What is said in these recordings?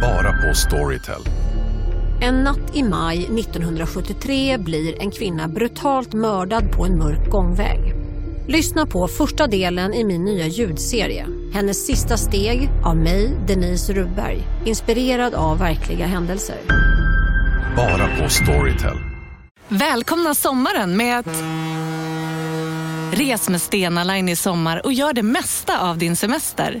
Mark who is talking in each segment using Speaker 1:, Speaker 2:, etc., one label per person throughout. Speaker 1: Bara på Storytel.
Speaker 2: En natt i maj 1973 blir en kvinna brutalt mördad på en mörk gångväg. Lyssna på första delen i min nya ljudserie. Hennes sista steg av mig, Denise Rubberg. Inspirerad av verkliga händelser.
Speaker 1: Bara på Storytel.
Speaker 3: Välkomna sommaren med att... Res med Stena Line i sommar och gör det mesta av din semester.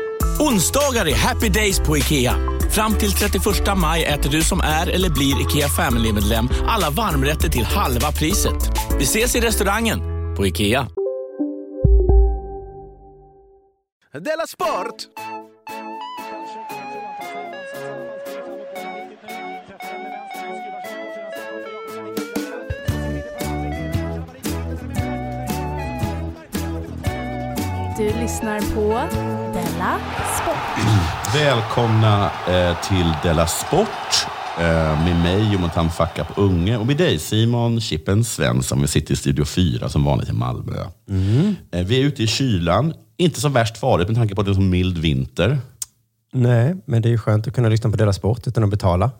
Speaker 4: Onsdagar är happy days på IKEA. Fram till 31 maj äter du som är eller blir IKEA Family-medlem alla varmrätter till halva priset. Vi ses i restaurangen på IKEA.
Speaker 5: Della Sport!
Speaker 6: Du lyssnar på Della Sport.
Speaker 7: Välkomna eh, till Della Sport eh, med mig Jonathan Fackap Unge och med dig Simon Chippen Svensson. Vi sitter i Studio 4 som vanligt i Malmö.
Speaker 8: Mm.
Speaker 7: Eh, vi är ute i kylan. Inte som värst farligt med tanke på att det är en så mild vinter.
Speaker 8: Nej, men det är ju skönt att kunna lyssna på deras sport utan att betala.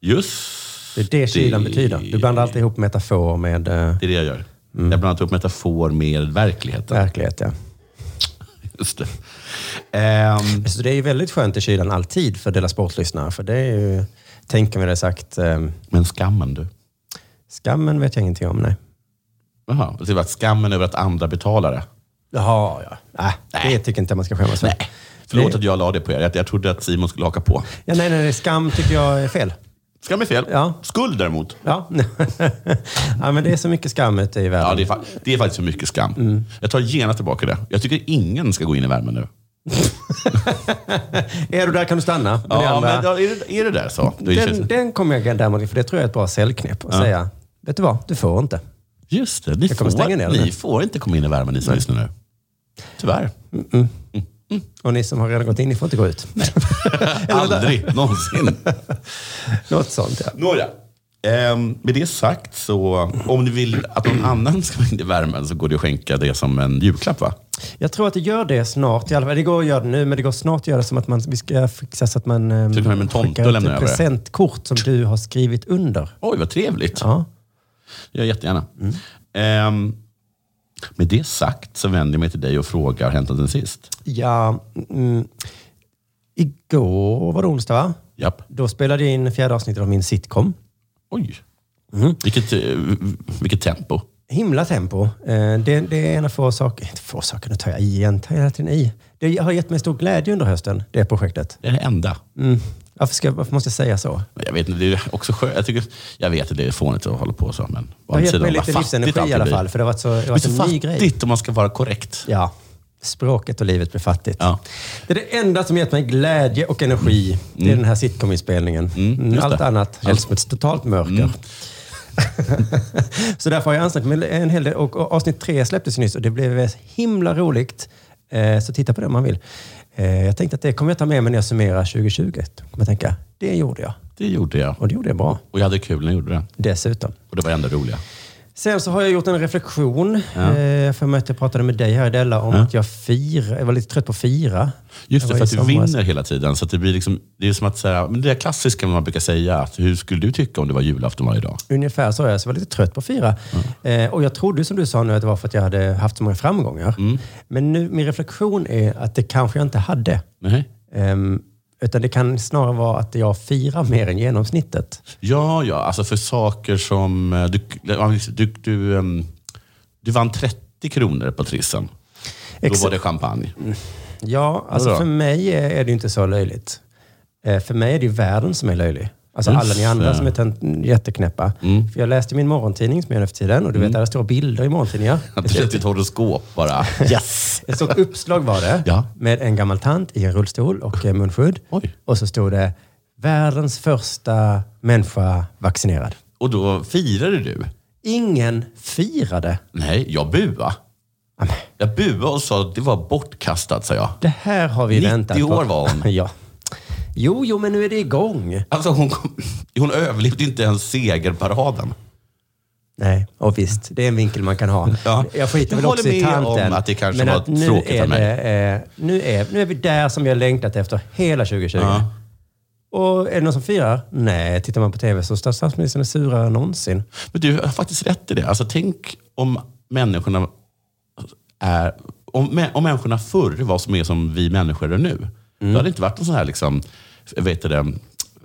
Speaker 7: Just
Speaker 8: Det är det kylan betyder. Du blandar alltid ihop metaforer med eh,
Speaker 7: Det är det jag gör. Jag blandar upp metafor med verkligheten.
Speaker 8: verklighet. Ja.
Speaker 7: Just det. Ehm,
Speaker 8: Så det är ju väldigt skönt i kylan alltid för deras sportlyssnare. För det är ju, tänker vi det sagt, eh,
Speaker 7: men skammen du.
Speaker 8: skammen vet jag ingenting om. Nej.
Speaker 7: Jaha, det var skammen över att andra betalar det.
Speaker 8: Jaha, ja. Äh, det tycker inte jag man ska skämmas för. Nej.
Speaker 7: Förlåt att jag la det på er. Jag- Jag trodde att Simon skulle haka på.
Speaker 8: Ja, nej, nej, nej, skam tycker jag är fel.
Speaker 7: Skam är fel.
Speaker 8: Ja.
Speaker 7: Skuld däremot.
Speaker 8: Ja. ja, men det är så mycket skam ute i världen.
Speaker 7: Ja, det är, fa- det är faktiskt för mycket skam.
Speaker 8: Mm.
Speaker 7: Jag tar genast tillbaka det. Jag tycker ingen ska gå in i värmen nu.
Speaker 8: Är du där kan du stanna. Men det
Speaker 7: Ja,
Speaker 8: andra-
Speaker 7: men då är, det, är det där så? Det är
Speaker 8: den,
Speaker 7: just,
Speaker 8: den kommer jag däremot, för det tror jag är ett bra säljknep, att säga, vet du vad, du får inte.
Speaker 7: just det, ni,
Speaker 8: Jag kommer stänga ner
Speaker 7: får,
Speaker 8: den.
Speaker 7: ni får inte komma in i värmen i Sverige just nu. nu. Tyvärr.
Speaker 8: Och ni som har redan gått in, ni får inte gå ut.
Speaker 7: Aldrig någonsin.
Speaker 8: Något sånt, ja.
Speaker 7: Nåja. Ehm, med det sagt så, om ni vill att någon annan ska gå in i värmen så går det att skänka det som en julklapp va?
Speaker 8: Jag tror att det gör det snart. I alla fall, det går att göra det nu, men det går snart att göra det som att man, vi ska fixa så att man ehm,
Speaker 7: du kan ha med en tomte
Speaker 8: skickar
Speaker 7: och
Speaker 8: ut
Speaker 7: lämnar
Speaker 8: ett
Speaker 7: över det?
Speaker 8: presentkort som du har skrivit under.
Speaker 7: Oj, vad trevligt.
Speaker 8: Ja. Mm.
Speaker 7: Jag jättegärna. Ehm, med det sagt så vänder jag mig till dig och frågar, har hänt något sen sist?
Speaker 8: ja mm, igår var det onsdag, va?
Speaker 7: Japp.
Speaker 8: Då spelade jag in fjärde avsnittet av min sitcom.
Speaker 7: Oj. Vilket, eh, vilket tempo.
Speaker 8: Himla tempo. Eh, Det, det är en av få saker, inte få saker, nu tar jag i igen, tar jag hela tiden i. Det har gett mig stor glädje under hösten, det projektet.
Speaker 7: Det är det enda.
Speaker 8: Mm. Varför, ska, varför måste jag säga så?
Speaker 7: Men Jag vet inte, det är också skönt. Jag, tycker, jag vet att det är fånigt att hålla på så, men å
Speaker 8: Det har
Speaker 7: andra
Speaker 8: gett
Speaker 7: sidan,
Speaker 8: mig
Speaker 7: vad
Speaker 8: lite
Speaker 7: fattigt
Speaker 8: livsenergi
Speaker 7: allt
Speaker 8: i alla
Speaker 7: blir.
Speaker 8: fall, för det har varit, så, det har
Speaker 7: Men
Speaker 8: varit
Speaker 7: så
Speaker 8: en ny grej.
Speaker 7: fattigt om man ska vara korrekt.
Speaker 8: Ja, språket och livet blir fattigt.
Speaker 7: Ja.
Speaker 8: Det är det enda som gett mig glädje och energi. Det är den här sitcominspelningen. Mm,
Speaker 7: Mm. just Mm.
Speaker 8: Allt
Speaker 7: det.
Speaker 8: annat känns som ett totalt mörker. så därför har jag ansträngt mig en hel del. Och, och avsnitt tre släpptes ju nyss och det blev himla roligt. Eh, så titta på det om man vill. Eh, jag tänkte att det kommer jag ta med mig när jag summerar 2020. Då kommer jag tänka, det gjorde jag.
Speaker 7: Det gjorde jag.
Speaker 8: Och det gjorde jag bra,
Speaker 7: Och jag hade kul när jag gjorde det.
Speaker 8: dessutom.
Speaker 7: Och det var det enda roliga.
Speaker 8: Sen så har jag gjort en reflektion. Eh, för mig att jag pratade med dig här Della om att jag firar. Jag var lite trött på att fira.
Speaker 7: Just
Speaker 8: Jag
Speaker 7: det,
Speaker 8: var
Speaker 7: för
Speaker 8: i
Speaker 7: att du
Speaker 8: somras-
Speaker 7: vinner hela tiden. Så att det, blir liksom, det är som att säga, men det där klassiska man brukar säga, att hur skulle du tycka om det var julafton varje dag?
Speaker 8: Ungefär så är jag, så jag var lite trött på att fira. Eh, och jag trodde som du sa nu att det var för att jag hade haft så många framgångar.
Speaker 7: Mm.
Speaker 8: Men nu, min reflektion är att det kanske jag inte hade.
Speaker 7: Nej.
Speaker 8: Ehm, utan det kan snarare vara att jag firar mer än genomsnittet.
Speaker 7: Ja, ja, alltså för saker som... eh, Du, du, du, ehm, du vann 30 kronor på trissen. Då
Speaker 8: Exa-
Speaker 7: var det champagne.
Speaker 8: Ja, alltså
Speaker 7: Vadå?
Speaker 8: för mig är, är det ju inte så löjligt. Eh, för mig är det ju världen som är löjlig. Alltså
Speaker 7: Just
Speaker 8: alla ni andra
Speaker 7: det.
Speaker 8: som är tent- jätteknäppa.
Speaker 7: Mm.
Speaker 8: För jag läste min morgontidning som jag gör nu för tiden och du vet, där står bilder i morgontidningar.
Speaker 7: Det är ett horoskop bara. Yes!
Speaker 8: Ett stort uppslag var det
Speaker 7: Ja.
Speaker 8: med en gammal tant i en rullstol och eh, munskydd.
Speaker 7: Oj.
Speaker 8: Och så stod det världens första människa vaccinerad.
Speaker 7: Och då firade du.
Speaker 8: Ingen firade.
Speaker 7: Nej, jag bua. Jag buade och sa att det var bortkastat, sa jag.
Speaker 8: Det här har vi
Speaker 7: 90
Speaker 8: väntat på.
Speaker 7: år var hon.
Speaker 8: ja. Jo, jo, men nu är det igång.
Speaker 7: Alltså hon, kom, hon överlevde ju inte ens segerparaden.
Speaker 8: Nej, och visst, det är en vinkel man kan ha.
Speaker 7: Ja.
Speaker 8: Jag skiter väl
Speaker 7: Jag
Speaker 8: också i
Speaker 7: håller med om
Speaker 8: tanten.
Speaker 7: att det kanske
Speaker 8: men
Speaker 7: var
Speaker 8: nu
Speaker 7: tråkigt
Speaker 8: är
Speaker 7: av mig.
Speaker 8: det, eh, nu, är, nu är vi där som vi har längtat efter hela 2020.
Speaker 7: Ja.
Speaker 8: Och är det någon som firar? Nej, tittar man på tv så står statsministern är surare än någonsin.
Speaker 7: Men du har faktiskt rätt i det. Alltså, tänk om människorna är... Om, mä- om människorna förr var som är som vi människor är nu.
Speaker 8: Mm.
Speaker 7: Då hade det inte varit någon sån här liksom, vet du det,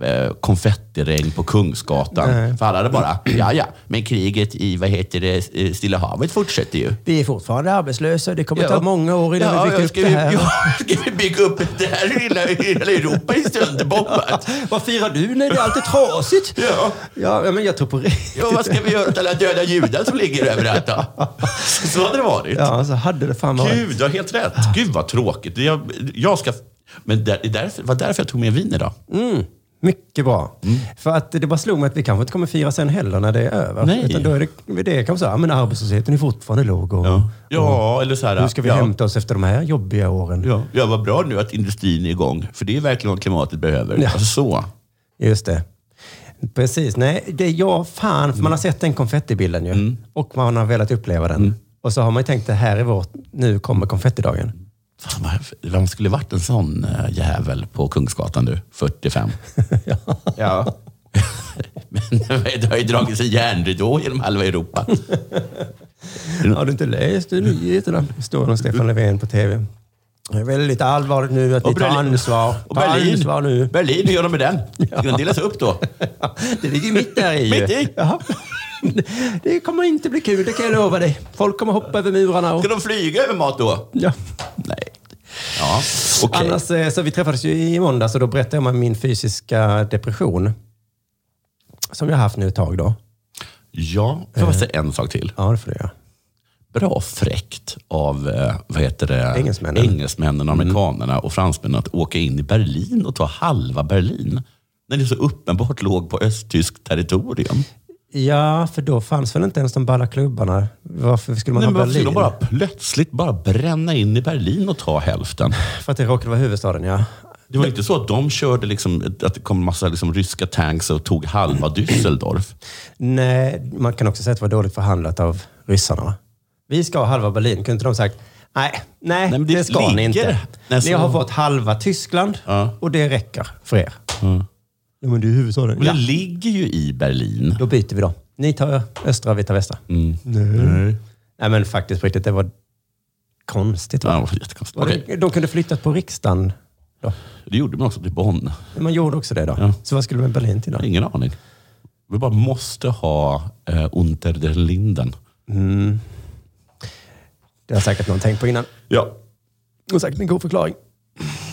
Speaker 7: eh, konfettiregn på Kungsgatan. För alla hade bara, ja ja, men kriget i vad heter det, eh, Stilla havet fortsätter ju.
Speaker 8: Vi är fortfarande arbetslösa. Det kommer
Speaker 7: Ja.
Speaker 8: ta många år innan
Speaker 7: Ja,
Speaker 8: vi bygger upp
Speaker 7: ska
Speaker 8: det här.
Speaker 7: Ja, ska vi bygga upp det här hela, hela Europa är sönderbombat?
Speaker 8: Vad firar du? Nej, det är alltid trasigt.
Speaker 7: Ja.
Speaker 8: ja, men jag tror på riktigt.
Speaker 7: Ja, vad ska vi göra åt alla döda judar som ligger överallt då? Så hade det varit.
Speaker 8: Ja, så hade det fan varit.
Speaker 7: Gud, du har helt rätt. Gud vad tråkigt. Jag, jag ska... Men där, det är därför, var därför jag tog med vin idag.
Speaker 8: Mycket bra. För att det bara slog mig att vi kanske inte kommer fira sen heller när det är över.
Speaker 7: Nej.
Speaker 8: Utan då är det, det är kanske så här, men arbetslösheten är fortfarande låg och,
Speaker 7: Ja, eller så här...
Speaker 8: och hur ska vi
Speaker 7: ja,
Speaker 8: hämta oss efter de här jobbiga åren?
Speaker 7: Ja, ja, vad bra nu att industrin är igång. För det är verkligen vad klimatet behöver.
Speaker 8: Ja.
Speaker 7: Alltså så.
Speaker 8: Just det. Precis. Nej, det är jag fan, för man har sett den konfettibilden ju. Och man har velat uppleva den. Och så har man ju tänkt det här är vårt, nu kommer konfettidagen.
Speaker 7: Fan, vad- vem skulle varit en sån eh, jävel på Kungsgatan nu? 45. ja. Men det har ju dragits en järnridå genom halva Europa.
Speaker 8: Har du inte läst i nyheterna? Står det om Stefan Löfven på tv. Det är väldigt allvarligt nu att vi tar ansvar.
Speaker 7: och
Speaker 8: Ta
Speaker 7: Berlin,
Speaker 8: ansvar nu.
Speaker 7: Berlin, hur gör de med den? Ska den delas upp då?
Speaker 8: Det ligger ju mitt där i.
Speaker 7: Mitt i?
Speaker 8: Jaha. Det kommer inte bli kul, det kan jag lova dig. Folk kommer hoppa över murarna. Och...
Speaker 7: Ska de flyga över mat då?
Speaker 8: Ja.
Speaker 7: Nej. Ja, okej.
Speaker 8: Annars, eh, så vi träffades ju i måndags och då berättade jag om min fysiska depression. Som jag har haft nu ett tag då.
Speaker 7: Ja, får jag
Speaker 8: Eh.
Speaker 7: bara säga en sak till?
Speaker 8: Ja, det får du göra.
Speaker 7: Bra fräckt av eh, vad heter det?
Speaker 8: Engelsmännen. Mm.
Speaker 7: engelsmännen amerikanerna och fransmännen att åka in i Berlin och ta halva Berlin. När det så uppenbart låg på östtyskt territorium.
Speaker 8: Ja, för då fanns väl inte ens de balla klubbarna. Varför skulle man
Speaker 7: Nej, men
Speaker 8: ha
Speaker 7: varför skulle
Speaker 8: Berlin?
Speaker 7: de bara plötsligt bara bränna in i Berlin och ta hälften?
Speaker 8: För att det råkade vara huvudstaden, ja.
Speaker 7: Det var inte så att de körde liksom, att det kom massa liksom ryska tanks och tog halva Düsseldorf.
Speaker 8: Nej, man kan också säga att det var dåligt förhandlat av ryssarna. va? Vi ska ha halva Berlin. Kunde inte de sagt nej, nej,
Speaker 7: men
Speaker 8: det,
Speaker 7: det
Speaker 8: ska ni
Speaker 7: ligger
Speaker 8: inte.
Speaker 7: nästan-
Speaker 8: Ni har fått halva Tyskland
Speaker 7: Ja.
Speaker 8: och det räcker för er. Ja, men det är huvudstaden.
Speaker 7: Men
Speaker 8: Ja.
Speaker 7: det ligger ju i Berlin.
Speaker 8: Då byter vi då. Ni tar östra, vi tar västra.
Speaker 7: Mm.
Speaker 8: Nej. nej, men faktiskt på riktigt, det var konstigt. Va?
Speaker 7: Ja, det var jättekonstigt.
Speaker 8: Var det-
Speaker 7: Okej,
Speaker 8: De kunde flyttat på riksdagen. Då.
Speaker 7: Det gjorde man också till Bonn.
Speaker 8: Man gjorde också det då.
Speaker 7: Ja.
Speaker 8: Så vad skulle man Berlin till då?
Speaker 7: Jag har ingen aning. Vi bara måste ha eh, Unter den Linden.
Speaker 8: Det har säkert någon tänkt på innan.
Speaker 7: Ja.
Speaker 8: Och säkert en god förklaring.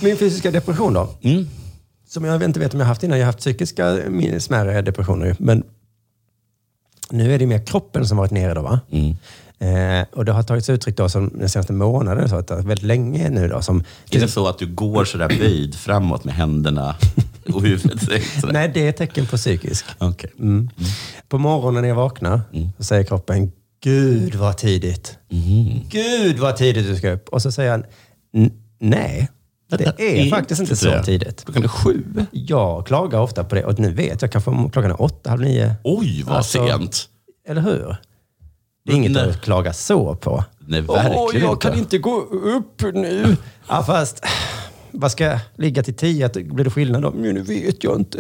Speaker 8: Min fysiska depression då?
Speaker 7: Mm.
Speaker 8: Som jag inte vet om jag haft innan. Jag har haft psykiska eh, smärre depressioner ju. Men nu är det mer kroppen som varit nere då va?
Speaker 7: Mm.
Speaker 8: Eh, och det har tagits uttryck då som den senaste månaden, så att det är väldigt länge nu då. Som,
Speaker 7: Är det så att du går sådär böjd framåt med händerna och huvudet sänkt? sådär?
Speaker 8: nej, det är ett tecken på psykisk.
Speaker 7: Okej.
Speaker 8: Mm. På morgonen när jag vaknar så säger kroppen, Gud vad tidigt.
Speaker 7: Mm.
Speaker 8: Gud vad tidigt du ska upp. Och så säger han, "N- nej, det är faktiskt inte så
Speaker 7: det.
Speaker 8: tidigt.
Speaker 7: Klockan är sju.
Speaker 8: Jag klagar ofta på det och nu vet jag kanske om klockan är åtta, halv nio.
Speaker 7: Oj, vad
Speaker 8: Alltså,
Speaker 7: sent.
Speaker 8: Eller hur? Det är inget
Speaker 7: Nej.
Speaker 8: att klaga så på.
Speaker 7: Nej, verkligen
Speaker 8: Åh, jag
Speaker 7: inte.
Speaker 8: kan inte gå upp nu. Ja, fast vad ska jag ligga till tio? Att- Blir det skillnad då? Men nu vet jag inte.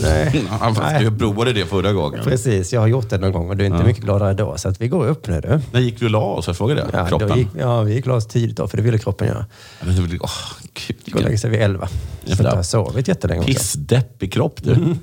Speaker 8: Nej.
Speaker 7: Ja, fast
Speaker 8: Nej.
Speaker 7: du provade det förra gången.
Speaker 8: Precis, jag har gjort det någon gång och du är inte mycket gladare då. Så att vi går upp nu du.
Speaker 7: När gick du och la oss? Jag frågade det.
Speaker 8: Ja, då
Speaker 7: Kroppen.
Speaker 8: gick, ja, vi gick och la oss tidigt då, för det ville kroppen göra.
Speaker 7: Jag vet inte, åh, gud,
Speaker 8: Gå och lägga sig vid elva. Så
Speaker 7: Jävla
Speaker 8: att jag har sovit jättelänge också.
Speaker 7: Pissdeppig kropp du.
Speaker 8: Mm.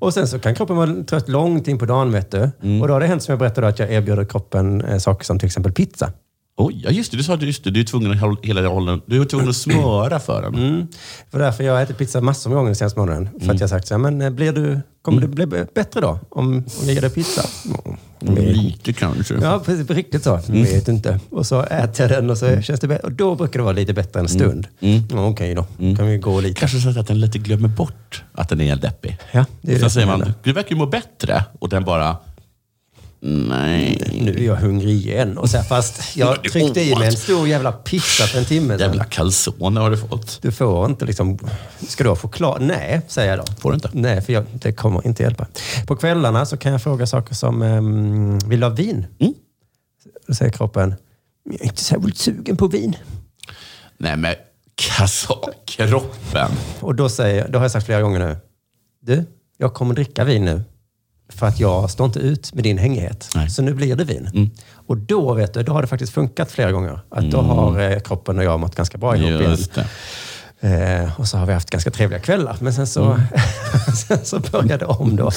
Speaker 8: Och sen så kan kroppen vara trött långt in på dagen, vet du. Och då har det hänt som jag berättade att jag erbjuder kroppen eh, saker som till exempel pizza.
Speaker 7: Oj, ja just det. Du sa att just det, du är tvungen att hålla, hela rollen, du är tvungen att smöra för den.
Speaker 8: Mm.
Speaker 7: Mm.
Speaker 8: För därför jag har ätit pizza massor med gånger den senaste månaden. För att jag har sagt så här, men eh, blir du, kommer det bli b- bättre då? Om, om jag ger dig pizza? Mm.
Speaker 7: Lite kanske.
Speaker 8: Ja, precis, riktigt så. Jag vet inte. Och så äter jag den och så känns det bättre. Och då brukar det vara lite bättre en stund. Ja, Okej då, kan vi gå lite.
Speaker 7: Kanske så att den lite glömmer bort att den är deppig.
Speaker 8: Ja, det är det
Speaker 7: Sen
Speaker 8: som
Speaker 7: säger man,
Speaker 8: händer.
Speaker 7: du verkar ju må bättre. Och den bara, Nej.
Speaker 8: Nu är jag hungrig igen. Och så här, fast jag tryckte i mig en stor jävla pizza för en timme sedan.
Speaker 7: Jävla calzone har du fått.
Speaker 8: Du får inte liksom... Ska du ha choklad? Nej, säger jag då.
Speaker 7: Får du inte?
Speaker 8: Nej, för jag, det kommer inte hjälpa. På kvällarna så kan jag fråga saker som, ehm, vill du ha vin?
Speaker 7: Mm.
Speaker 8: Då säger kroppen, jag är inte särskilt sugen på vin.
Speaker 7: Nej men, alltså kroppen.
Speaker 8: Och då, säger, då har jag sagt flera gånger nu, du, jag kommer dricka vin nu. För att jag står inte ut med din hängighet.
Speaker 7: Nej. Mm.
Speaker 8: Så nu blir det vin. Och då, vet du, då har det faktiskt funkat flera gånger. Att Då har eh, kroppen och jag mått ganska bra ihop igen.
Speaker 7: Just det.
Speaker 8: Eh, och så har vi haft ganska trevliga kvällar. Men sen så,
Speaker 7: Mm.
Speaker 8: sen så började det om då.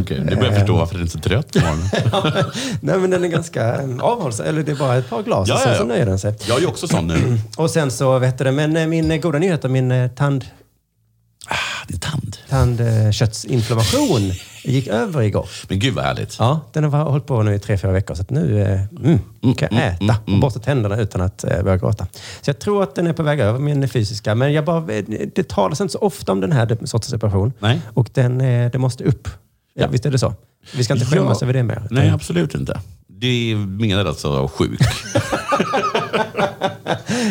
Speaker 7: Okej, nu börjar jag förstå varför du är så trött på morgonen.
Speaker 8: Nej men den är ganska eh, avhållsam. Eller det är bara ett par glas och sen så nöjer den sig.
Speaker 7: Jag är ju också sån nu.
Speaker 8: Och sen så, vet du det, men eh, min eh, goda nyhet om min eh, tand,
Speaker 7: Ah, det är tand.
Speaker 8: tandköttsinflammation gick över igår.
Speaker 7: Men gud vad härligt.
Speaker 8: Ja, den har hållit på nu i tre, fyra veckor. Så att nu eh, mm, kan jag äta och borsta tänderna utan att eh, börja gråta. Så jag tror att den är på väg över min fysiska. Men jag bara, eh, det talas inte så ofta om den här de- sortens separation.
Speaker 7: Nej.
Speaker 8: Och den, eh, det måste upp.
Speaker 7: Ja.
Speaker 8: Visst är det så? Vi ska inte skämmas
Speaker 7: Ja.
Speaker 8: över det mer. utan-
Speaker 7: Nej, absolut inte. Det är menad alltså av sjuk.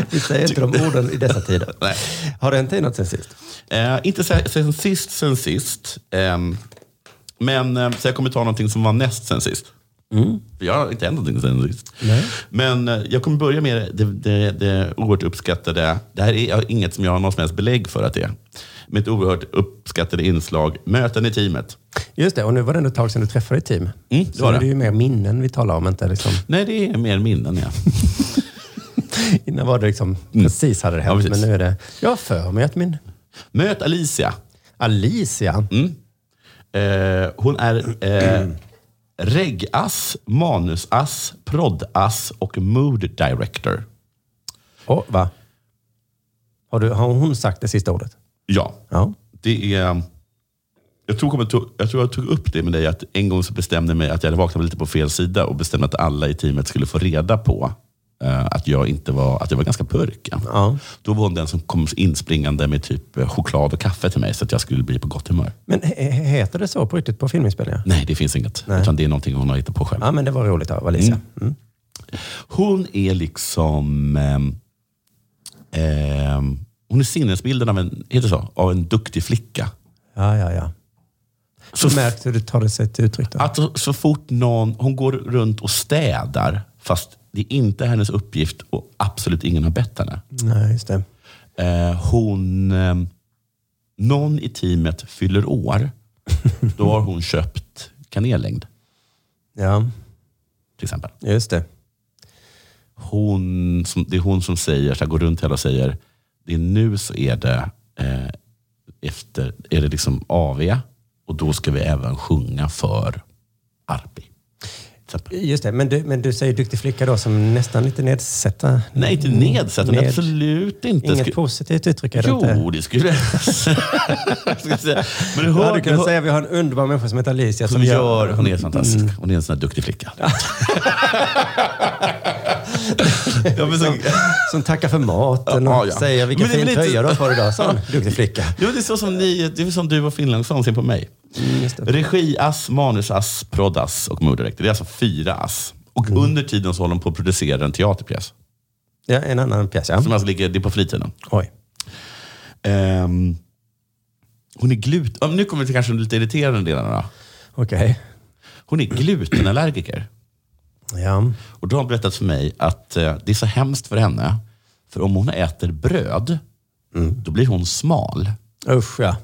Speaker 8: Vi säger inte de orden i dessa tider.
Speaker 7: Nej.
Speaker 8: Har det hänt dig något sen sist?
Speaker 7: Eh, inte sen, sen sist, sen sist. Ehm, men eh, så jag kommer ta någonting som var näst sen sist.
Speaker 8: Mm.
Speaker 7: För jag har inte hänt någonting sen sist. Men eh, jag kommer börja med det, det, det oerhört uppskattade, det här är jag- inget som jag har något som helst belägg för att det är, med ett oerhört uppskattade inslag, möten i teamet.
Speaker 8: Just det, och nu var det ändå ett tag sedan du träffade ditt team.
Speaker 7: Mm, det
Speaker 8: så
Speaker 7: var
Speaker 8: nu är
Speaker 7: det.
Speaker 8: det ju mer minnen vi talar om. Inte liksom,
Speaker 7: Nej, det är mer minnen ja.
Speaker 8: innan var det liksom, precis hade det
Speaker 7: Ja,
Speaker 8: hänt, men
Speaker 7: precis.
Speaker 8: nu är det... Jag har för mig att min
Speaker 7: Möt Alicia.
Speaker 8: Alicia,
Speaker 7: Eh, hon är eh, reggass, manusass, proddass och mood director.
Speaker 8: Oh, va? Har, du, har hon sagt det sista ordet?
Speaker 7: Ja,
Speaker 8: Ja.
Speaker 7: det är... Jag tror, jag, tog, jag tror jag tog upp det med dig, att en gång så bestämde jag mig att jag hade vaknat lite på fel sida och bestämde att alla i teamet skulle få reda på eh, att, jag inte var, att jag var ganska purken.
Speaker 8: ja.
Speaker 7: Då var hon den som kom inspringande med typ eh, choklad och kaffe till mig så att jag skulle bli på gott humör.
Speaker 8: Men he- he- heter det så på riktigt på filminspelningar?
Speaker 7: Nej, det finns inget.
Speaker 8: Nej.
Speaker 7: Utan det är någonting hon har hittat på själv.
Speaker 8: Ja, men det var roligt av Alicia.
Speaker 7: Mm. Hon är liksom... ehm, ehm, hon är sinnesbilden av en, heter det så, av en duktig flicka.
Speaker 8: Ja, ja, ja.
Speaker 7: Så,
Speaker 8: Du märkte hur det tar sig till uttryck då?
Speaker 7: att så- så fort någon... Hon går runt och städar, fast det är inte hennes uppgift och absolut ingen har bett henne.
Speaker 8: Nej, just det.
Speaker 7: Eh, hon... ehm, någon i teamet fyller år. Då har hon köpt kanellängd,
Speaker 8: Ja,
Speaker 7: till exempel.
Speaker 8: just det.
Speaker 7: hon som, det är hon som säger, så här, går runt hela och säger, det är nu så är det, eh, efter, är det liksom AV och då ska vi även sjunga för Arpi. Så att-
Speaker 8: Just det. Men, du, men du säger duktig flicka då som nästan lite nedsätta.
Speaker 7: Nej, inte nedsättande.
Speaker 8: Mm. Ned-
Speaker 7: Absolut inte.
Speaker 8: Inget
Speaker 7: Sku-
Speaker 8: positivt uttryck är det inte?
Speaker 7: Jo, det skulle jag skulle säga. Men
Speaker 8: Du
Speaker 7: du hör,
Speaker 8: hade
Speaker 7: du hör,
Speaker 8: kunnat säga att vi har en underbar människa som heter Alicia
Speaker 7: hon, gör, hon är
Speaker 8: Mm.
Speaker 7: fantastisk. Hon är en sån här duktig flicka. ja, men så,
Speaker 8: som tackar för maten och
Speaker 7: Ja, ja.
Speaker 8: säger vilken
Speaker 7: Men det är
Speaker 8: fin
Speaker 7: väl lite-
Speaker 8: tröja du har på dig idag. Sån duktig flicka.
Speaker 7: Jo, det är så som ni, det är som du och Finlandsson ser på mig. Regiass, manusass, proddass och mooddirektor. Det är alltså fyra ass. Och under tiden så håller de på att producera en teaterpjäs.
Speaker 8: Ja, en annan pjäs, ja.
Speaker 7: Som alltså ligger, det är på fritiden.
Speaker 8: Oj.
Speaker 7: Ehm, hon är glut... ja, men Nu kommer vi till kanske de lite irriterande delarna. då.
Speaker 8: Okej.
Speaker 7: Hon är glutenallergiker.
Speaker 8: Ja.
Speaker 7: Och då har hon berättat för mig att eh, det är så hemskt för henne. För om hon äter bröd, då blir hon smal.
Speaker 8: Usch ja.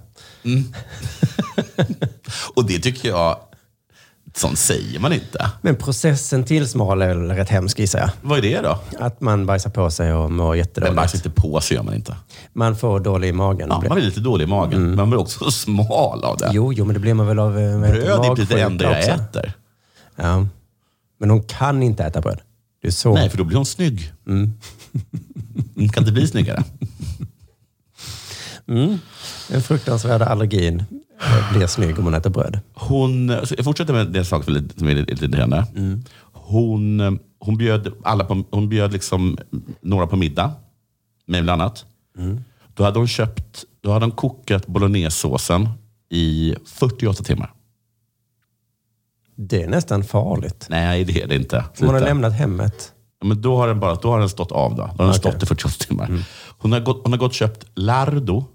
Speaker 7: Och det tycker jag, sånt säger man inte.
Speaker 8: Men processen till smal är väl rätt hemsk gissar jag.
Speaker 7: Vad är det då?
Speaker 8: Att man bajsar på sig och mår
Speaker 7: Men man
Speaker 8: jättedåligt.
Speaker 7: sitter på så gör man inte.
Speaker 8: Man får dålig i magen.
Speaker 7: Ja, man blir lite dålig i magen, men man blir också smal av det.
Speaker 8: Mm. Jo, jo, men det blir man väl av eh, vad heter
Speaker 7: Bröd är inte det
Speaker 8: magsjuka
Speaker 7: enda jag
Speaker 8: också.
Speaker 7: äter.
Speaker 8: Ja. Men hon kan inte äta bröd. Det är så.
Speaker 7: Nej, för då blir hon snygg.
Speaker 8: Mm.
Speaker 7: Hon kan inte bli snyggare.
Speaker 8: Den fruktansvärda allergin eh, blir snygg om man äter bröd.
Speaker 7: Hon, så jag fortsätter med det sak som är lite- som är lite lite henne.
Speaker 8: Mm.
Speaker 7: Hon, hon, bjöd alla på, hon bjöd liksom några på middag, mig bland annat.
Speaker 8: Mm.
Speaker 7: Då hade hon köpt, då hade hon kokat bolognesåsen i 48 timmar.
Speaker 8: Det är nästan farligt.
Speaker 7: Nej, det är det inte.
Speaker 8: Hon har
Speaker 7: Sluta.
Speaker 8: lämnat hemmet.
Speaker 7: Ja, men då har den bara då har den stått av. Då, då har den
Speaker 8: Okej.
Speaker 7: stått i 48 timmar. Hon, har gått, hon har gått och köpt lardo.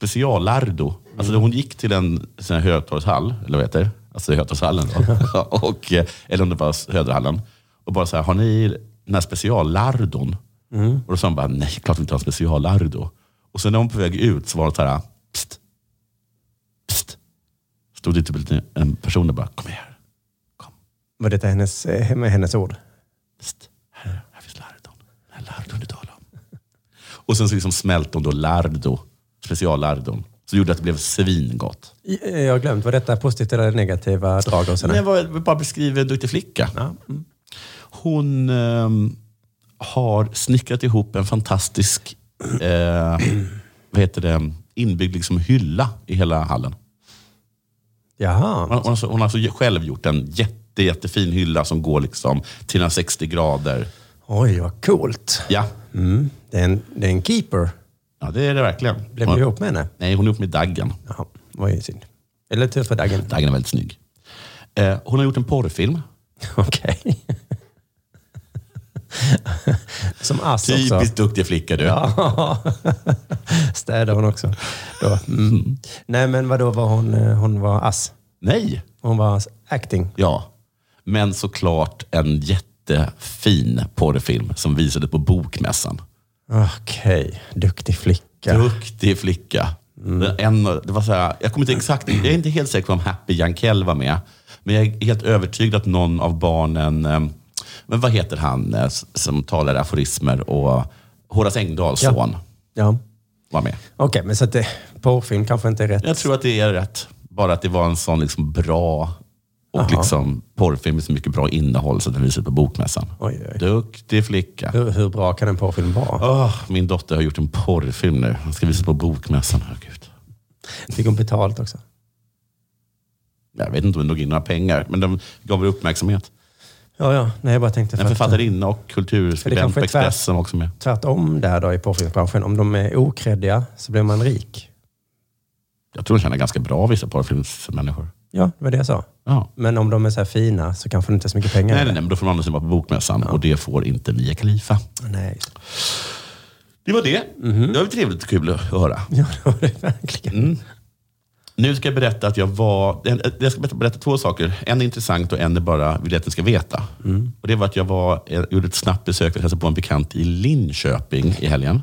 Speaker 7: Special-lardo. Alltså, hon gick till en sån här Hötorgshall, eller vad heter det? Alltså Hötorgshallen då. och, eh, eller om det var Söderhallen. Och bara så här, har ni den här speciallardon? Och då sa hon bara, nej, klart vi inte har en speciallardo. Och sen när hon på väg ut så var det så här, pst, pst. Stod det typ en liten- en person och bara, kom här,
Speaker 8: Var detta hennes, eh, med hennes ord?
Speaker 7: Psst, här, här finns lardon. Den här lardon du talar om. Och sen så liksom smälte hon då lardo, speciallardon. Så gjorde att det blev svingott.
Speaker 8: I- eh, Jag har glömt. Var detta positiva eller negativa drag hos
Speaker 7: Men
Speaker 8: henne?
Speaker 7: jag var, bara beskriver en duktig flicka. Hon ehm, har snickrat ihop en fantastisk eh, vad heter det, inbyggd liksom hylla i hela hallen. Hon,
Speaker 8: Jaha.
Speaker 7: har- hon, har så- hon har alltså själv gjort en jätte, jättefin hylla som går liksom 360 grader.
Speaker 8: Oj, vad coolt.
Speaker 7: Ja,
Speaker 8: Mm. Det, är en, det är en keeper.
Speaker 7: ja det är det verkligen.
Speaker 8: Blev
Speaker 7: Hon-
Speaker 8: du ihop med henne?
Speaker 7: Nej, hon är ihop med Daggen.
Speaker 8: Jaha, vad är synd. Eller tur för dagen.
Speaker 7: Daggen är väldigt snygg. Eh, hon har gjort en porrfilm.
Speaker 8: Okej. Som ass också.
Speaker 7: Typiskt duktig flicka du.
Speaker 8: Ja. Städar hon också. Då. Mm. Nej, men vadå, var hon, eh, hon var ass?
Speaker 7: Nej,
Speaker 8: Hon var acting.
Speaker 7: ja. Men såklart en jättefin porrfilm som visade på Bokmässan.
Speaker 8: Okej, duktig flicka.
Speaker 7: Duktig flicka. En, av- det var så här, jag kommer inte exakt, jag är inte helt säker på om Happy Jankell var med. Men jag är helt övertygad att någon av barnen, eh, men vad heter han eh, s- som talar aforismer och Horace Engdahls
Speaker 8: Ja.
Speaker 7: son
Speaker 8: Ja.
Speaker 7: var med.
Speaker 8: Okej, men så att det, porrfilm kanske inte är rätt.
Speaker 7: Jag tror att det är rätt. Bara att det var en sån liksom bra och liksom porrfilm med så mycket bra innehåll så att den visades på bokmässan.
Speaker 8: Oj, oj.
Speaker 7: Duktig flicka.
Speaker 8: Hur, hur bra kan en porrfilm vara?
Speaker 7: Åh, min dotter har gjort en porrfilm nu. Den ska visas på bokmässan. Åh, Gud.
Speaker 8: Fick hon betalt också?
Speaker 7: Jag vet inte om det drog in några pengar, men de gav väl uppmärksamhet.
Speaker 8: Ja, ja. Nej, jag bara tänkte
Speaker 7: En
Speaker 8: att- eh,
Speaker 7: författarinna och kulturskribent
Speaker 8: kanske
Speaker 7: på
Speaker 8: är tvärt-
Speaker 7: Expressen var också med.
Speaker 8: Tvärtom där då i porrfilmsbranschen. Om de är okreddiga så blir man rik.
Speaker 7: Jag tror de tjänar ganska bra, vissa porrfilmsmänniskor.
Speaker 8: Ja, det var det jag sa.
Speaker 7: Ja.
Speaker 8: Men om de är så här fina så kanske det inte är så mycket pengar.
Speaker 7: Nej, nej, nej, men då får man andra sidan vara på bokmässan och det får inte Mia Khalifa.
Speaker 8: Nej, just det.
Speaker 7: Det var det.
Speaker 8: Mhm.
Speaker 7: Det var väl trevligt och kul att höra.
Speaker 8: Ja, det var det verkligen.
Speaker 7: Nu ska jag berätta att jag var... en- eh, Jag ska berätta, berätta två saker. En är intressant och en är bara vill jag att ni ska veta. Och det var att jag var, jag gjorde ett snabbt besök för att hälsa på en bekant i Linköping i helgen.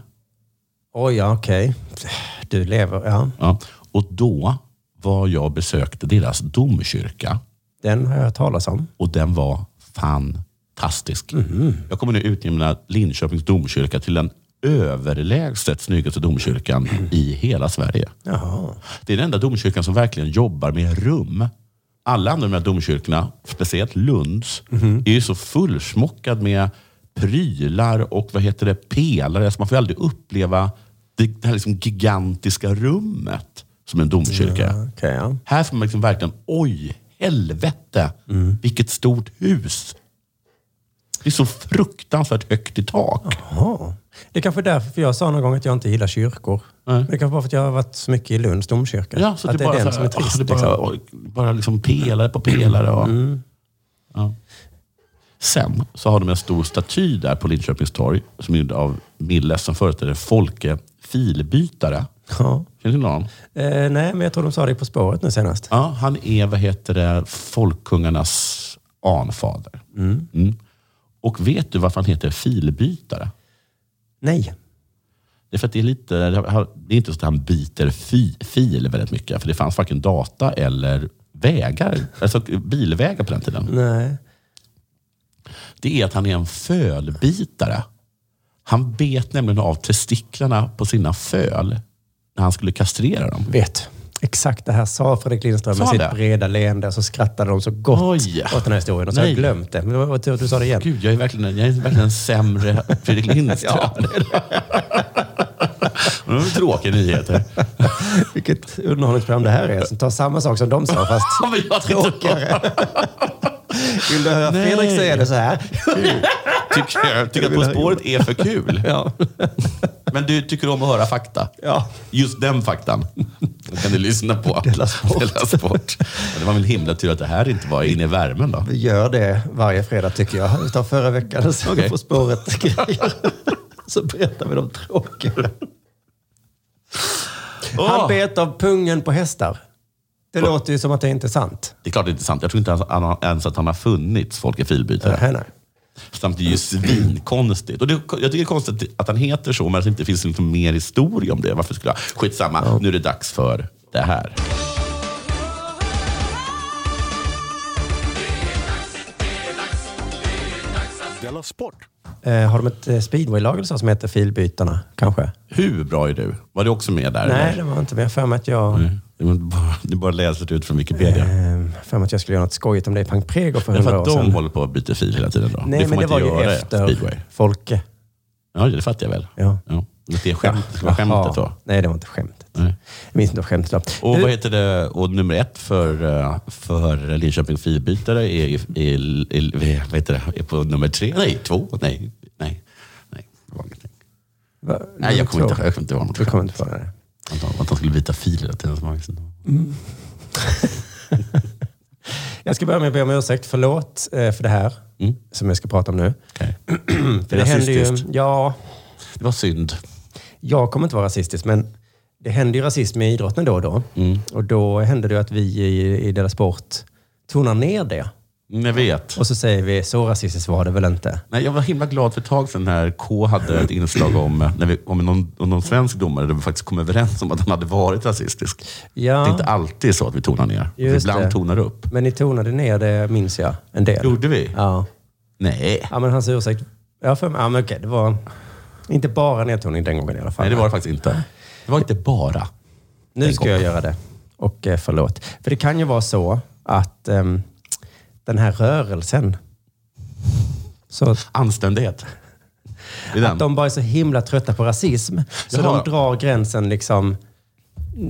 Speaker 8: Oj, ja, okej. Du lever, ja.
Speaker 7: Ja. Och då var jag och besökte deras domkyrka.
Speaker 8: Den har jag hört talas om.
Speaker 7: Och den var fantastisk. Jag kommer nu utnämna Linköpings domkyrka till den överlägset snyggaste domkyrkan i hela Sverige.
Speaker 8: Jaha.
Speaker 7: Det är den enda domkyrkan som verkligen jobbar med rum. Alla andra de här domkyrkorna, speciellt Lunds, är ju så fullsmockad med prylar och vad heter det, pelare. Så man får ju aldrig uppleva det, det här liksom gigantiska rummet som en domkyrka.
Speaker 8: Ja, okej, ja.
Speaker 7: Här får man liksom verkligen, oj, helvete, vilket stort hus. Det är så fruktansvärt högt i tak.
Speaker 8: Jaha. Det är kanske är därför för jag sa någon gång att jag inte gillar kyrkor.
Speaker 7: Nej.
Speaker 8: Det är kanske bara för att jag har varit så mycket i Lunds domkyrka.
Speaker 7: Ja, så
Speaker 8: att
Speaker 7: det, är bara
Speaker 8: den
Speaker 7: så här,
Speaker 8: som är trist.
Speaker 7: ah, det är bara,
Speaker 8: liksom. Mm.
Speaker 7: oj, bara liksom pelare på pelare. Och, ja. Sen så har de en stor staty där på Linköpings torg som är gjord av Milles som företräder Folke Filbytare.
Speaker 8: Ja.
Speaker 7: Känner du till honom?
Speaker 8: Eh, nej, men jag tror de sa det På spåret nu senast.
Speaker 7: Ja, han är, vad heter det, folkkungarnas anfader. Mm. Och vet du varför han heter Filbytare?
Speaker 8: Nej.
Speaker 7: Det är för att det är lite, det är inte så att han byter fi, fil väldigt mycket. För det fanns varken data eller vägar, alltså bilvägar på den tiden.
Speaker 8: Nej.
Speaker 7: det är att han är en fölbitare. Han bet nämligen av testiklarna på sina föl när han skulle kastrera dem.
Speaker 8: Vet. Exakt det här sa Fredrik Lindström
Speaker 7: Sa
Speaker 8: med
Speaker 7: han
Speaker 8: sitt
Speaker 7: det?
Speaker 8: breda leende. Så skrattade de så gott
Speaker 7: Oj.
Speaker 8: åt den här historien. Och så har jag
Speaker 7: Nej.
Speaker 8: glömt det. Men det var tur att du sa det igen.
Speaker 7: Gud, jag är verkligen, en- jag är verkligen en sämre Fredrik Lindström. ja, det är det. tråkiga nyheter.
Speaker 8: Vilket underhållningsprogram det här är. Som tar samma sak som de sa fast
Speaker 7: Ja, men jag tycker,
Speaker 8: tråkigare. Vill du höra
Speaker 7: Nej.
Speaker 8: Fredrik säga det så här?
Speaker 7: tycker, jag tycker att På spåret är för kul.
Speaker 8: Ja.
Speaker 7: Men du tycker om att höra fakta.
Speaker 8: Ja.
Speaker 7: Just den faktan. Då kan du lyssna på Della Sport. Sport. Ja, Det var väl himla tur att det här inte var inne i värmen då.
Speaker 8: Vi gör det varje fredag tycker jag. Utav förra veckan så
Speaker 7: Okej.
Speaker 8: På spåret-grejer. så berättar vi de tråkiga.
Speaker 7: Åh!
Speaker 8: Han bet av pungen på hästar. Det låter ju som att det inte är sant.
Speaker 7: Det är klart det är inte sant. Jag tror inte ens- han har- ens att han har funnits, folk i filbytare.
Speaker 8: Nej, nej.
Speaker 7: Samt det är ju svinkonstigt. Och det, jag tycker det är konstigt att han heter så, men att det inte finns liksom mer historia om det. Varför skulle jag? Skitsamma, nu är det dags för det här.
Speaker 5: Della Sport.
Speaker 8: Eh, har de ett eh, speedwaylag eller så som heter Filbytarna, kanske?
Speaker 7: Hur bra är du? Var du också med där?
Speaker 8: Nej,
Speaker 7: eller?
Speaker 8: det var inte mer för mig att jag...
Speaker 7: Du bara, du bara läser ut från Wikipedia.
Speaker 8: ehm, för mig att jag skulle göra något skojigt om det i Pank Prego för
Speaker 7: Men för
Speaker 8: hundra
Speaker 7: att
Speaker 8: år
Speaker 7: de
Speaker 8: sedan.
Speaker 7: håller på att byta fil hela tiden då?
Speaker 8: Nej,
Speaker 7: det får
Speaker 8: men
Speaker 7: man
Speaker 8: det
Speaker 7: inte
Speaker 8: var ju
Speaker 7: göra
Speaker 8: efter
Speaker 7: speedway.
Speaker 8: Folke.
Speaker 7: Ja, det fattar jag väl.
Speaker 8: Ja.
Speaker 7: Ja. Men Det är skämt. Det var skämtet då.
Speaker 8: Jaha. Nej, det var inte skämtet.
Speaker 7: Nej.
Speaker 8: Jag minns inte vad skämtet var.
Speaker 7: Och
Speaker 8: Du-
Speaker 7: vad heter det? Och nummer ett för, eh, för Linköping fribytare är, är, är, är, vad heter det? är på nummer tre. Nej, två. Nej, nej. Nej, det var ingenting.
Speaker 8: Va-
Speaker 7: nej jag kommer
Speaker 8: tror-
Speaker 7: inte ihåg. Jag kommer inte ihåg något
Speaker 8: Du kommer
Speaker 7: skämt.
Speaker 8: inte på det.
Speaker 7: Att de- Att de skulle byta fil hela tiden. som var liksom-
Speaker 8: Jag ska börja med att be om ursäkt. Förlåt eh, för det här
Speaker 7: Mm.
Speaker 8: som jag ska prata om nu.
Speaker 7: Okej.
Speaker 8: För det händer ju,
Speaker 7: rasistiskt.
Speaker 8: ja,
Speaker 7: Det var synd.
Speaker 8: jag kommer inte vara rasistisk, men det händer ju rasism i idrotten då och då.
Speaker 7: Mm.
Speaker 8: Och då händer det ju att vi i, i Della Sport tonar ner det.
Speaker 7: Mm, Jag vet.
Speaker 8: Och så säger vi, så rasistiskt var det väl inte?
Speaker 7: Nej, jag var himla glad för ett tag sedan när K hade ett inslag om, eh, när vi, om, någon, om någon svensk domare där vi faktiskt kom överens om att han hade varit rasistisk.
Speaker 8: Ja.
Speaker 7: Det är inte alltid så att vi tonar ner.
Speaker 8: Just
Speaker 7: Ibland
Speaker 8: det.
Speaker 7: tonar det upp.
Speaker 8: Men ni tonade ner det, minns jag, en del.
Speaker 7: Gjorde vi?
Speaker 8: Ja.
Speaker 7: Nej.
Speaker 8: ja, men hans ursäkt. Ja, för, ja men okej, det var inte bara nedtoning den gången i alla fall.
Speaker 7: Nej, det var det faktiskt inte. Det var inte bara.
Speaker 8: Nu ska jag göra det. Och eh, förlåt. För det kan ju vara så att ehm, den här rörelsen, så att
Speaker 7: Anständighet. Det är den.
Speaker 8: de bara är så himla trötta på rasism, så
Speaker 7: Jaha.
Speaker 8: de drar gränsen liksom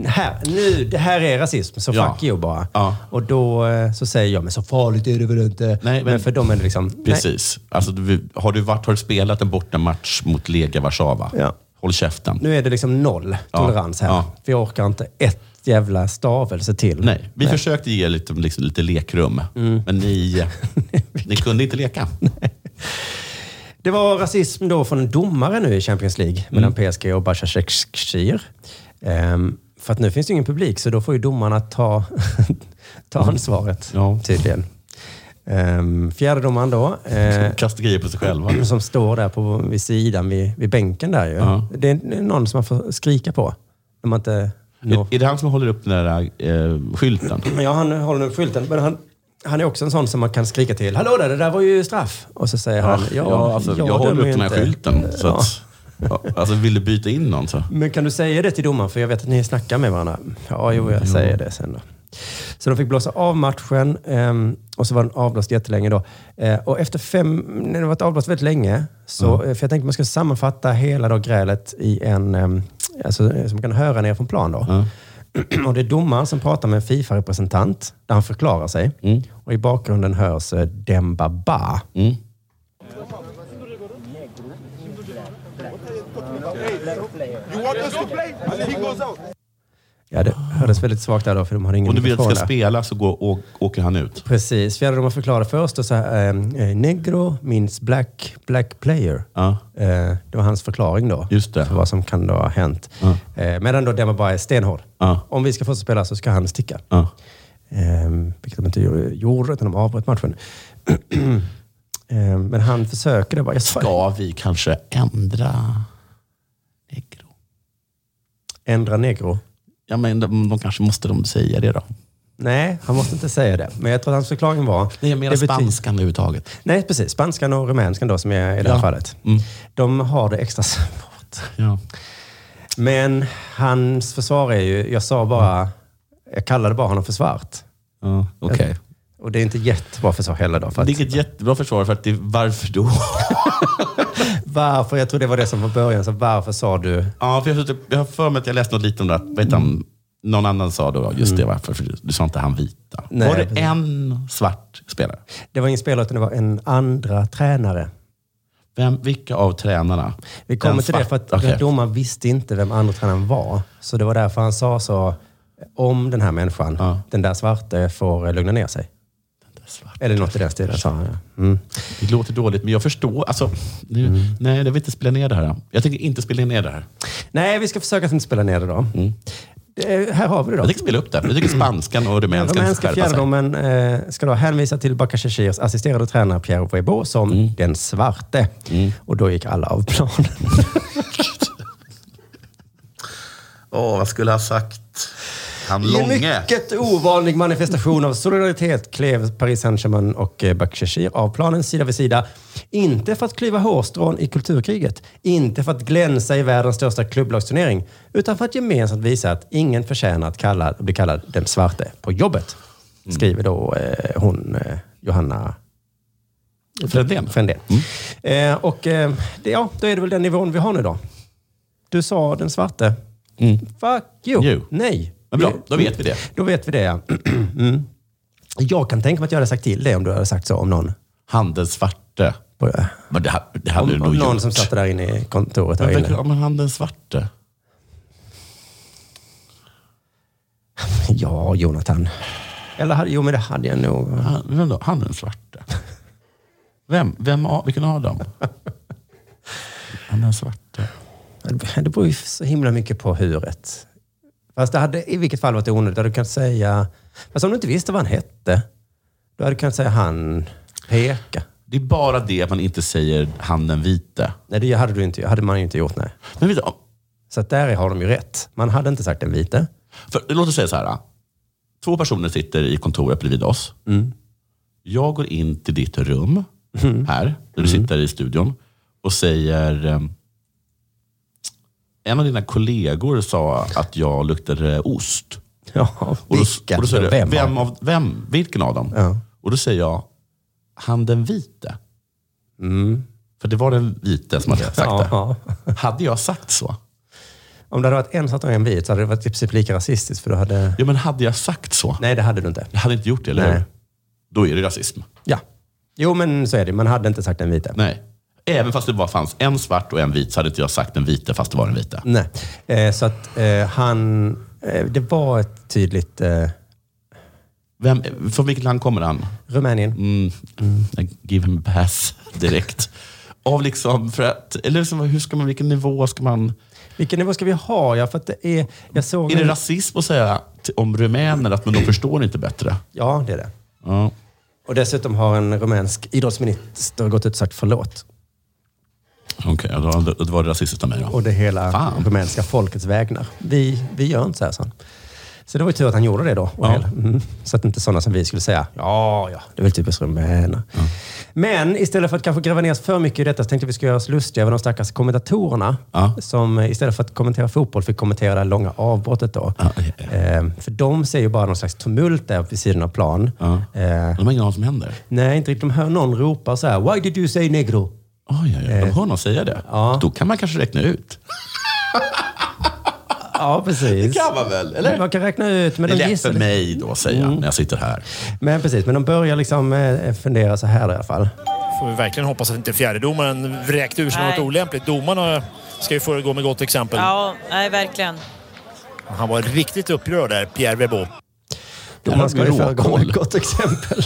Speaker 8: här, nu, det här är rasism, så
Speaker 7: Ja.
Speaker 8: fuck you bara.
Speaker 7: Ja.
Speaker 8: Och då eh, så säger jag, men så farligt är det väl inte?
Speaker 7: men-
Speaker 8: men, för dem är det liksom,
Speaker 7: Precis. Alltså, du, har, du varit, har du spelat en bortamatch mot Lega Warszawa?
Speaker 8: Ja.
Speaker 7: Håll käften.
Speaker 8: nej, nu är det liksom noll
Speaker 7: Ja.
Speaker 8: tolerans här.
Speaker 7: Ja.
Speaker 8: Vi orkar inte ett jävla stavelse till.
Speaker 7: Nej, vi försökte ge lite, liksom, lite lekrum,
Speaker 8: Mm.
Speaker 7: men ni, ni kunde inte leka.
Speaker 8: Det var rasism då från en domare nu i Champions League
Speaker 7: Mm.
Speaker 8: mellan PSG och Başakşehir. Ehm, för att nu finns det ju ingen publik, så då får ju domarna ta, ta ansvaret
Speaker 7: Ja.
Speaker 8: tydligen. Um, fjärde domaren då, eh,
Speaker 7: Kasta grejer på sig själva.
Speaker 8: som står där på, vid sidan vid, vid bänken där ju.
Speaker 7: Ja.
Speaker 8: Det är någon som man får skrika på. När man inte når
Speaker 7: Är, är det han som håller upp den där eh, skylten?
Speaker 8: Men Ja, han håller upp skylten. Men han, han är också en sån som man kan skrika till. Hallå där, det där var ju straff. Och så säger han, ja,
Speaker 7: ja, alltså, jag,
Speaker 8: dömer
Speaker 7: håller
Speaker 8: ju
Speaker 7: upp den här
Speaker 8: inte.
Speaker 7: skylten. Så
Speaker 8: Ja.
Speaker 7: att, ja, alltså, vill du byta in någon så?
Speaker 8: Men kan du säga det till domaren? För jag vet att ni snackar med varandra. Ja, jo,
Speaker 7: Mm,
Speaker 8: jag säger det sen då. Så de fick blåsa av matchen ehm, och så var den avblåst jättelänge då. Eh, och efter fem, när det var avblåst väldigt länge, så,
Speaker 7: Mm.
Speaker 8: eh, för jag tänkte man skulle sammanfatta hela då grälet i en, ehm, alltså, eh, som man kan höra ner från plan då.
Speaker 7: Mm.
Speaker 8: Och det är domaren som pratar med en Fifa-representant där han förklarar sig.
Speaker 7: Mm.
Speaker 8: Och i bakgrunden hörs eh, Demba Ba. Ja, det hördes väldigt svagt där då, för de hade ingen
Speaker 7: Om du vill att
Speaker 8: mikrofon
Speaker 7: det
Speaker 8: där.
Speaker 7: ska spela så går, å, åker han ut.
Speaker 8: Precis. Fjärde domaren förklarade först och sa eh, negro means black, black player.
Speaker 7: Ja.
Speaker 8: Eh, det var hans förklaring då.
Speaker 7: Just det.
Speaker 8: För vad som kan då ha hänt. Eh, medan då Demba bara är stenhård.
Speaker 7: Ja.
Speaker 8: Om vi ska fortsätta spela så ska han sticka.
Speaker 7: Ja.
Speaker 8: Eh, vilket de inte gjorde- gjorde, utan de avbröt matchen. eh, men han försöker det bara. Jag sa,
Speaker 7: Ska vi kanske ändra negro?
Speaker 8: Ändra negro.
Speaker 7: Ja, men de, de kanske måste de säga det då.
Speaker 8: Nej, han måste inte säga det. Men jag tror att hans förklaring var...
Speaker 7: Nej, jag menar
Speaker 8: det bety-
Speaker 7: spanskan överhuvudtaget.
Speaker 8: Nej, precis. Spanskan och rumänskan då, som är i det här
Speaker 7: Ja. Mm.
Speaker 8: fallet. De har det extra svårt.
Speaker 7: Ja.
Speaker 8: Men hans försvar är ju, jag sa bara, jag kallade bara honom för svart.
Speaker 7: Ja, Okej.
Speaker 8: Och det är inte jättebra försvar heller då. För att,
Speaker 7: Det är ett jättebra försvar, för att det, varför då?
Speaker 8: varför, jag tror det var det som var början, så varför sa du?
Speaker 7: ja, för jag, har suttit- jag har för mig att jag läste något lite om det. här. Vet han, någon annan sa då, just det, varför för du, du sa inte han vita.
Speaker 8: Mm. Nej,
Speaker 7: var det
Speaker 8: precis.
Speaker 7: en svart spelare?
Speaker 8: Det var ingen spelare utan det var en andra tränare.
Speaker 7: Vem, vilka av tränarna?
Speaker 8: Vi kommer
Speaker 7: Den
Speaker 8: till det för
Speaker 7: svart-
Speaker 8: att
Speaker 7: okej.
Speaker 8: domaren visste inte vem andra tränaren var. Så det var därför han sa så, om den här människan.
Speaker 7: Ja.
Speaker 8: Den där svarte får eh, lugna ner sig. Eller något i den stilen. sa han, ja. Mm.
Speaker 7: Det låter dåligt, men jag förstår. Alltså, nu, Nej, jag vill inte spela ner det här. Jag tänker inte spela ner det här.
Speaker 8: Nej, vi ska försöka att inte spela ner det då. Det, här har vi Mm. det då.
Speaker 7: Jag tänker spela upp det. här. Jag tycker spanskan och rumänskan ska
Speaker 8: Mm. Rumänska
Speaker 7: skärpa sig.
Speaker 8: fjärrdomen eh, ska då hänvisa till Bakasheshirs assisterade tränare Pierre Weibo som
Speaker 7: Mm.
Speaker 8: den svarte. Och då gick alla av planen.
Speaker 7: Åh, vad skulle jag ha sagt? Han
Speaker 8: I en
Speaker 7: långe.
Speaker 8: mycket ovanlig manifestation av solidaritet klev Paris Saint-Germain och eh, Bakshashir av planen sida vid sida. Inte för att klyva hårstrån i kulturkriget, inte för att glänsa i världens största klubblagsturnering, utan för att gemensamt visa att ingen förtjänar att kalla, bli kallad den svarte på jobbet.
Speaker 7: Mm.
Speaker 8: Skriver då eh, hon, eh, Johanna
Speaker 7: Fredén.
Speaker 8: Frändén.
Speaker 7: Mm.
Speaker 8: Eh, och eh, det, ja, då är det väl den nivån vi har nu då. Du sa den svarte. Fuck you.
Speaker 7: Mm. You.
Speaker 8: Nej.
Speaker 7: Men bra, då vet vi det.
Speaker 8: Då vet vi det, ja. mm. Jag kan tänka mig att jag hade sagt till dig om du hade sagt så om någon.
Speaker 7: Han den svarte.
Speaker 8: På, eh,
Speaker 7: Men det, ha- det hade
Speaker 8: om,
Speaker 7: du nog
Speaker 8: om någon
Speaker 7: gjort.
Speaker 8: som satt där inne i kontoret här
Speaker 7: men,
Speaker 8: inne.
Speaker 7: ja, men han den svarte.
Speaker 8: Ja, Jonathan. Eller hade- jo, men det hade jag nog.
Speaker 7: Han, vem då? han den svarte. Vem? vem av, vilken av dem? Han den svarte.
Speaker 8: Det beror ju så himla mycket på huret. Fast det hade i vilket fall varit onödigt. Du hade kunnat säga... Fast om du inte visste vad han hette, då hade du kunnat säga han peka.
Speaker 7: Det är bara det att man inte säger han den vite.
Speaker 8: Nej, det hade, du inte, hade man ju inte gjort. Nej.
Speaker 7: Men vet du, om-
Speaker 8: Så att där har de ju rätt. Man hade inte sagt den vite.
Speaker 7: För, låt oss säga så här. Två personer sitter i kontoret bredvid oss. Jag går in till ditt rum här, där du sitter i studion och säger ehm, en av dina kollegor sa att jag luktade ost.
Speaker 8: Ja,
Speaker 7: Och då,
Speaker 8: vilka?
Speaker 7: och då säger du,
Speaker 8: vem?
Speaker 7: vem,
Speaker 8: vem?
Speaker 7: av, vem? Vilken av dem?
Speaker 8: Ja.
Speaker 7: Och då säger jag, han den vite.
Speaker 8: Mm.
Speaker 7: För det var den vite som hade sagt
Speaker 8: Ja.
Speaker 7: det. Hade jag sagt så?
Speaker 8: Om det hade varit en svart och en vit så hade det varit i princip lika rasistiskt. För du hade...
Speaker 7: Ja, men hade jag sagt så?
Speaker 8: Nej, det hade du inte.
Speaker 7: Jag hade inte gjort det, eller
Speaker 8: Nej.
Speaker 7: hur? Då är det rasism.
Speaker 8: Ja. Jo, men så är det. Man hade inte sagt den vite.
Speaker 7: Nej. Även fast det bara fanns en svart och en vit så hade inte jag sagt den vita fast det var den vita.
Speaker 8: Nej. Eh, så att eh, han... Eh, det var ett tydligt... Eh,
Speaker 7: Vem, från vilket land kommer han?
Speaker 8: Rumänien.
Speaker 7: Mm, I Give him a pass direkt. Av liksom, för att, eller liksom, hur ska man, vilken nivå ska man...
Speaker 8: Vilken nivå ska vi ha? Ja, för att det är... Jag såg...
Speaker 7: Är det rasism att säga till- om rumäner att men de förstår inte bättre?
Speaker 8: Ja, det är det.
Speaker 7: Ja.
Speaker 8: Och dessutom har en rumänsk idrottsminister gått ut och sagt förlåt.
Speaker 7: Okej, då, då, då var det rasistiskt av mig då.
Speaker 8: Och det hela
Speaker 7: Fan.
Speaker 8: rumänska folkets vägnar. Vi, vi gör inte så här, sa han. Så det var ju tur att han gjorde det då. Och
Speaker 7: Ja.
Speaker 8: hela- Mm. Så att inte sådana som vi skulle säga, ja, ja, det är väl typiskt rumäner. Men istället för att kanske gräva ner oss för mycket i detta så tänkte vi skulle göra oss lustiga över de stackars kommentatorerna.
Speaker 7: Ja.
Speaker 8: Som eh, istället för att kommentera fotboll fick kommentera det här långa avbrottet då.
Speaker 7: Ja, ja, ja.
Speaker 8: Eh, för de ser ju bara någon slags tumult där vid sidan av plan.
Speaker 7: Ja.
Speaker 8: Eh,
Speaker 7: De har ingen aning vad som händer.
Speaker 8: nej, inte riktigt. De hör någon ropa så här, why did you say negro?
Speaker 7: Oj, oj, oj. De hör någon säga det.
Speaker 8: ja.
Speaker 7: Då kan man kanske räkna ut.
Speaker 8: Ja, precis.
Speaker 7: kan man väl, eller?
Speaker 8: Man kan räkna ut, men
Speaker 7: Det Mm. är
Speaker 8: de
Speaker 7: lätt
Speaker 8: gissar
Speaker 7: för
Speaker 8: lite.
Speaker 7: mig då att säga när jag sitter här.
Speaker 8: Men precis, men de börjar liksom eh, fundera så här i alla fall.
Speaker 5: Får vi verkligen hoppas att inte fjärdedomaren vräkte ur sig
Speaker 9: Nej.
Speaker 5: något olämpligt. Domarna ska ju föregå med gott exempel.
Speaker 9: Ja, nej verkligen.
Speaker 5: Han var riktigt upprörd där, Pierre Webo.
Speaker 8: Domaren ska ju
Speaker 7: råkoll.
Speaker 8: föregå med gott exempel.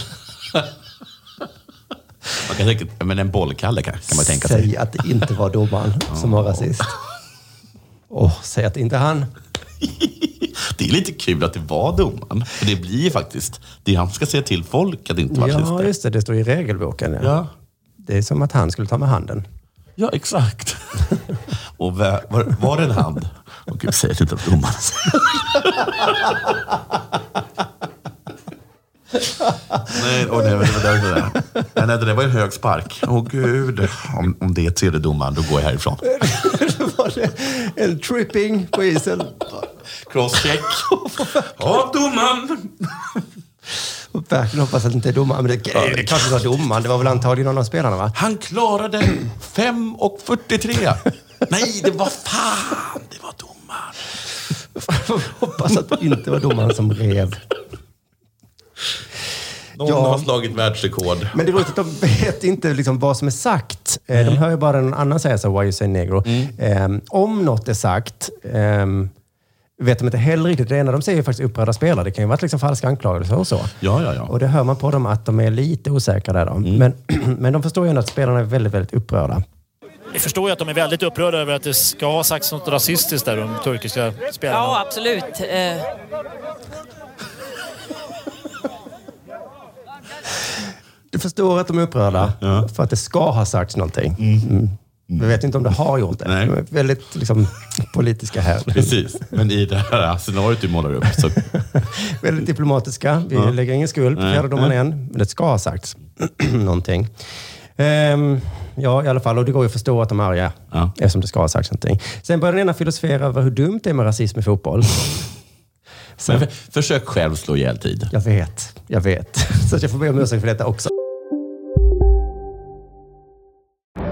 Speaker 7: Man kan tänka, men en bollkalle kan, kan man tänka sig.
Speaker 8: Säg att det inte var domaren som var rasist. Åh, säg att inte han.
Speaker 7: Det är lite kul att det var domaren. För det blir ju faktiskt, det är han som ska säga till folk att det inte var
Speaker 8: Ja,
Speaker 7: artister.
Speaker 8: just det. Det står i regelboken. Ja.
Speaker 7: Ja.
Speaker 8: Det är som att han skulle ta med handen.
Speaker 7: ja, exakt. Och vä- var, var det en hand? Åh gud, säg inte att domaren Nej, åh, nej, det var därför det. Nej, nej, det där var en hög spark. Åh gud. Om, om det är tredje domaren, då går jag härifrån.
Speaker 8: Då var det en tripping på isen.
Speaker 7: Crosscheck. Ja, domaren.
Speaker 8: Verkligen hoppas att det inte är domaren. Men det, det är klart det var domaren. Det var väl antagligen någon av spelarna, va?
Speaker 7: Han klarade 5.43. Nej, det var fan. Det var domaren.
Speaker 8: hoppas att det inte var domaren som rev.
Speaker 7: Någon
Speaker 8: Ja.
Speaker 7: har slagit världsrekord.
Speaker 8: Men det är roligt att de vet inte liksom vad som är sagt. Eh,
Speaker 7: Mm.
Speaker 8: De hör ju Ehm, bara någon annan säga så här, why you say negro. Eh, om något är sagt, eh, vet de inte heller riktigt. Det enda de säger är faktiskt upprörda spelare. Det kan ju vara liksom falska anklagelser och så.
Speaker 7: Ja, ja, Mm. ja.
Speaker 8: Och det hör man på dem att de är lite osäkra där. Då. Men, men de förstår ju ändå att spelarna är väldigt, väldigt upprörda.
Speaker 5: Vi förstår ju att de är väldigt upprörda över att det ska ha sagts något rasistiskt där om turkiska spelarna.
Speaker 9: Ja, absolut. Eh,
Speaker 8: Du förstår att de är upprörda för att det ska ha sagts någonting. Mm. Vi vet inte om det har gjort det. De är väldigt liksom, politiska här.
Speaker 7: Precis, men i det här scenariot du målar upp så...
Speaker 8: Väldigt diplomatiska. Vi
Speaker 7: Ja.
Speaker 8: lägger ingen skuld på
Speaker 7: Nej.
Speaker 8: fjärdedomaren
Speaker 7: Nej.
Speaker 8: än, men det ska ha sagts någonting. Ehm, ja, i alla fall. Och det går ju att förstå att de är arga, eftersom det ska ha sagts någonting. Sen börjar den ena filosofera över hur dumt det är med rasism i fotboll.
Speaker 7: Men för, försök själv slå ihjäl tid.
Speaker 8: Jag vet, jag vet. Så att jag får be om ursäkt för detta också.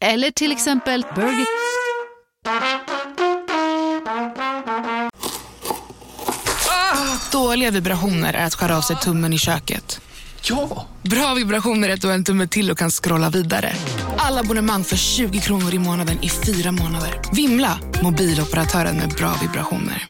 Speaker 10: Eller till exempel Burger...
Speaker 11: Dåliga vibrationer är att skära av sig tummen i köket. Ja! Bra vibrationer är att du har en tumme till och kan scrolla vidare. Alla abonnemang för 20 kronor i månaden i fyra månader. Vimla! Mobiloperatören med bra vibrationer.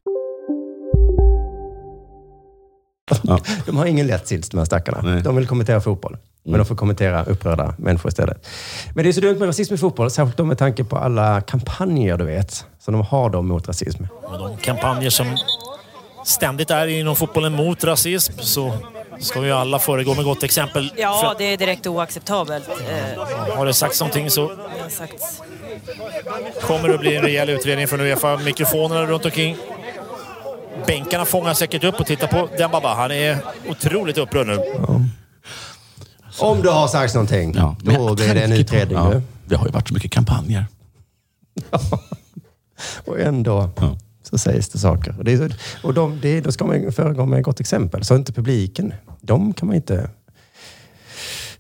Speaker 8: De har ingen lätt sits, de här stackarna. De vill kommentera fotboll.
Speaker 7: Mm.
Speaker 8: Men de får kommentera upprörda människor istället. Men det är så dumt med rasism i fotboll, särskilt då med tanke på alla kampanjer du vet, som de har då mot rasism.
Speaker 5: Och de kampanjer som ständigt är inom fotbollen mot rasism så ska vi ju alla föregå med gott exempel. För
Speaker 9: ja,
Speaker 5: att
Speaker 9: det är direkt oacceptabelt. Eh,
Speaker 5: har det sagts någonting så
Speaker 9: det har sagts.
Speaker 5: kommer det bli en rejäl utredning från Uefa. Mikrofonerna runt omkring. Bänkarna fångar säkert upp och tittar på Dembaba. Han är otroligt upprörd nu.
Speaker 8: Om det har sagts någonting, då blir det en utredning.
Speaker 7: Ja,
Speaker 8: nu.
Speaker 7: det har ju varit så mycket kampanjer.
Speaker 8: Och ändå så sägs det saker. Och, det är, så- och de, det, då ska man ju föregå med gott exempel. Så inte publiken, de kan man inte...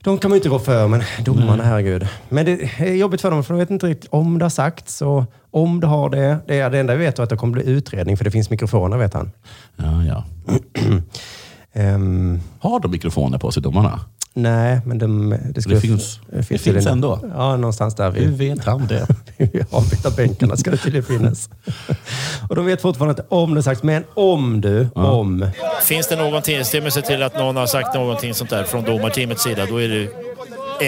Speaker 8: De kan man ju inte gå för, men domarna, herregud. Men det är jobbigt för dem, för de vet inte riktigt om det har sagts och om det har det. Det, är det enda vi vet är att det kommer bli utredning, för det finns mikrofoner, vet han.
Speaker 7: Ja, ja.
Speaker 8: Ehm,
Speaker 7: har de mikrofoner på sig, domarna?
Speaker 8: Nej, men de, det, skulle,
Speaker 7: Det finns- det finns
Speaker 8: tydligen-
Speaker 7: ändå.
Speaker 8: Ja, någonstans där.
Speaker 7: Hur vet han det?
Speaker 8: Vid avbytarbänkarna ska det tydligen finnas. och de vet fortfarande inte om det har sagts, men om du, om.
Speaker 5: Finns det någon tillstymmelse till att någon har sagt någonting sånt där från domarteamets sida, då är det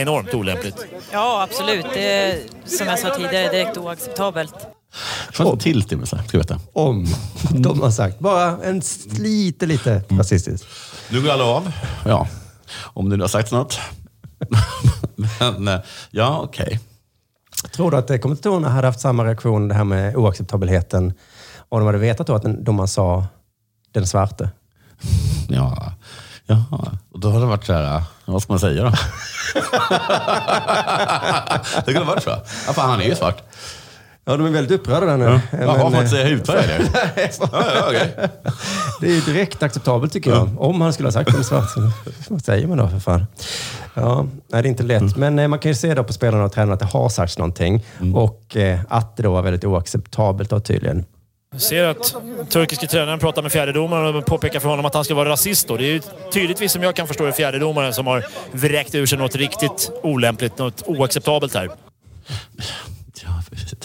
Speaker 5: enormt olämpligt.
Speaker 9: Ja, absolut. Det är, som jag sa tidigare, direkt oacceptabelt.
Speaker 7: Fanns en tillstymmelse, ska du veta.
Speaker 8: Om de har sagt. Bara en s- lite, lite
Speaker 7: Mm.
Speaker 8: rasistiskt.
Speaker 7: Nu går alla av. Ja, om det nu har sagts något. Men, eh, ja, okej.
Speaker 8: Tror du att eh, kommentatorerna hade haft samma reaktion, det här med oacceptabiliteten, om de hade vetat då att den- domaren sa den svarte?
Speaker 7: Ja. Jaha. Och då har det varit så här, eh, vad ska man säga då? det kunde ha varit så. Ja, fan, han är ju svart.
Speaker 8: Ja, de är väldigt upprörda där nu.
Speaker 7: Ja.
Speaker 8: Eh,
Speaker 7: Jaha, får man inte
Speaker 8: eh,
Speaker 7: säga hudfärg eller? ja, ja, okej.
Speaker 8: Det är ju direkt acceptabelt tycker jag. Om han skulle ha sagt den svarta. Vad säger man då för fan? Ja, nej, det är inte lätt.
Speaker 7: Mm.
Speaker 8: Men eh, man kan ju se då på spelarna och tränarna att det har sagts någonting. Och eh, att det då var väldigt oacceptabelt då tydligen.
Speaker 5: Jag ser att turkiske tränaren pratar med fjärdedomaren och påpekar för honom att han ska vara rasist. Då. Det är ju tydligtvis, som jag kan förstå, det fjärdedomaren som har vräkt ur sig något riktigt olämpligt, något oacceptabelt här.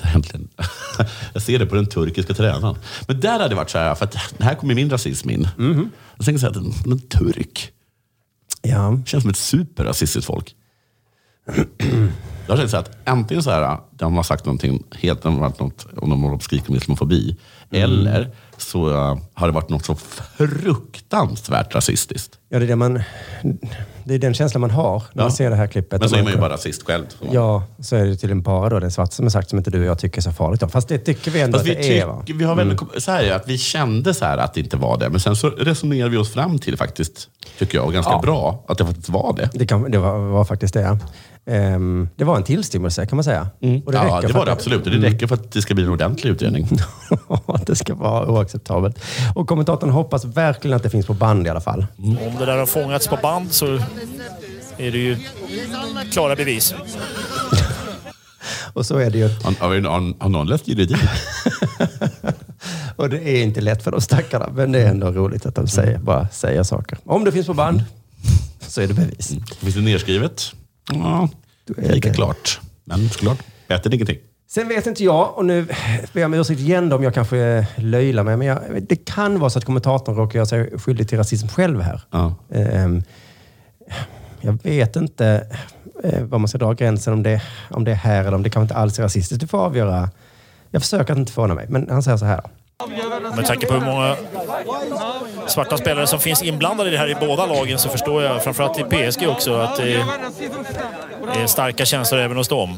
Speaker 7: Egentligen. Jag ser det på den turkiska tränaren. Men där hade det varit så här, för att här kommer min rasism in.
Speaker 8: Mhm.
Speaker 7: Jag tänker så här, men en turk.
Speaker 8: Ja.
Speaker 7: Känns som ett superrasistiskt folk. Jag känner så här att antingen så här, de har sagt någonting helt, de har varit något, om de håller på och skriker om islamofobi.
Speaker 8: Mm.
Speaker 7: Eller så eh, har det varit något så fruktansvärt rasistiskt.
Speaker 8: Ja, det är, det man, det är den känslan man har när man ser det här klippet.
Speaker 7: Men så
Speaker 8: Och
Speaker 7: är man ju bara rasist själv.
Speaker 8: Ja, så är det tydligen bara då den svarta som är sagt som inte du och jag tycker är så farligt. Då. Fast det tycker vi ändå
Speaker 7: Fast vi,
Speaker 8: att det är. Va? Mm.
Speaker 7: tyck, vi har väl så här, att vi kände så här att det inte var det, men sen så resonerade vi oss fram till faktiskt, tycker jag, ganska bra, att det faktiskt var det.
Speaker 8: Det, kan, det var, var faktiskt det. Ehm, det var en tillstymmelse kan man säga. Och det
Speaker 7: Mm. ja,
Speaker 8: räcker för
Speaker 7: det var
Speaker 8: att- Mm.
Speaker 7: det absolut. Och Det räcker för att det ska bli en ordentlig utredning.
Speaker 8: Ja, det ska vara oacceptabelt. Och kommentatorn hoppas verkligen att det finns på band i alla fall.
Speaker 5: Om det där har fångats på band så är det ju klara bevis.
Speaker 8: Och så är det ju.
Speaker 7: Har, har, har- har någon läst juridik?
Speaker 8: Och det är inte lätt för de stackarna, men det är ändå roligt att de säger, bara säger saker. Om det finns på band så är det bevis.
Speaker 7: Finns det nedskrivet? Ja, lite klart. Men såklart, bättre än ingenting.
Speaker 8: Sen vet inte jag, och nu ber jag om ursäkt igen då om jag kanske eh, löjlar mig, men jag, det kan vara så att kommentatorn råkar göra sig skyldig till rasism själv här.
Speaker 7: Ja.
Speaker 8: Ehm, jag vet inte eh, var man ska dra gränsen, om det, om det är här eller om det kanske inte alls är rasistiskt. Du får avgöra. Jag försöker att inte förvåna mig, men han säger så här. Då.
Speaker 5: Med tanke på hur många svarta spelare som finns inblandade i det här i båda lagen så förstår jag, framförallt i PSG också, att det är starka känslor även hos dem.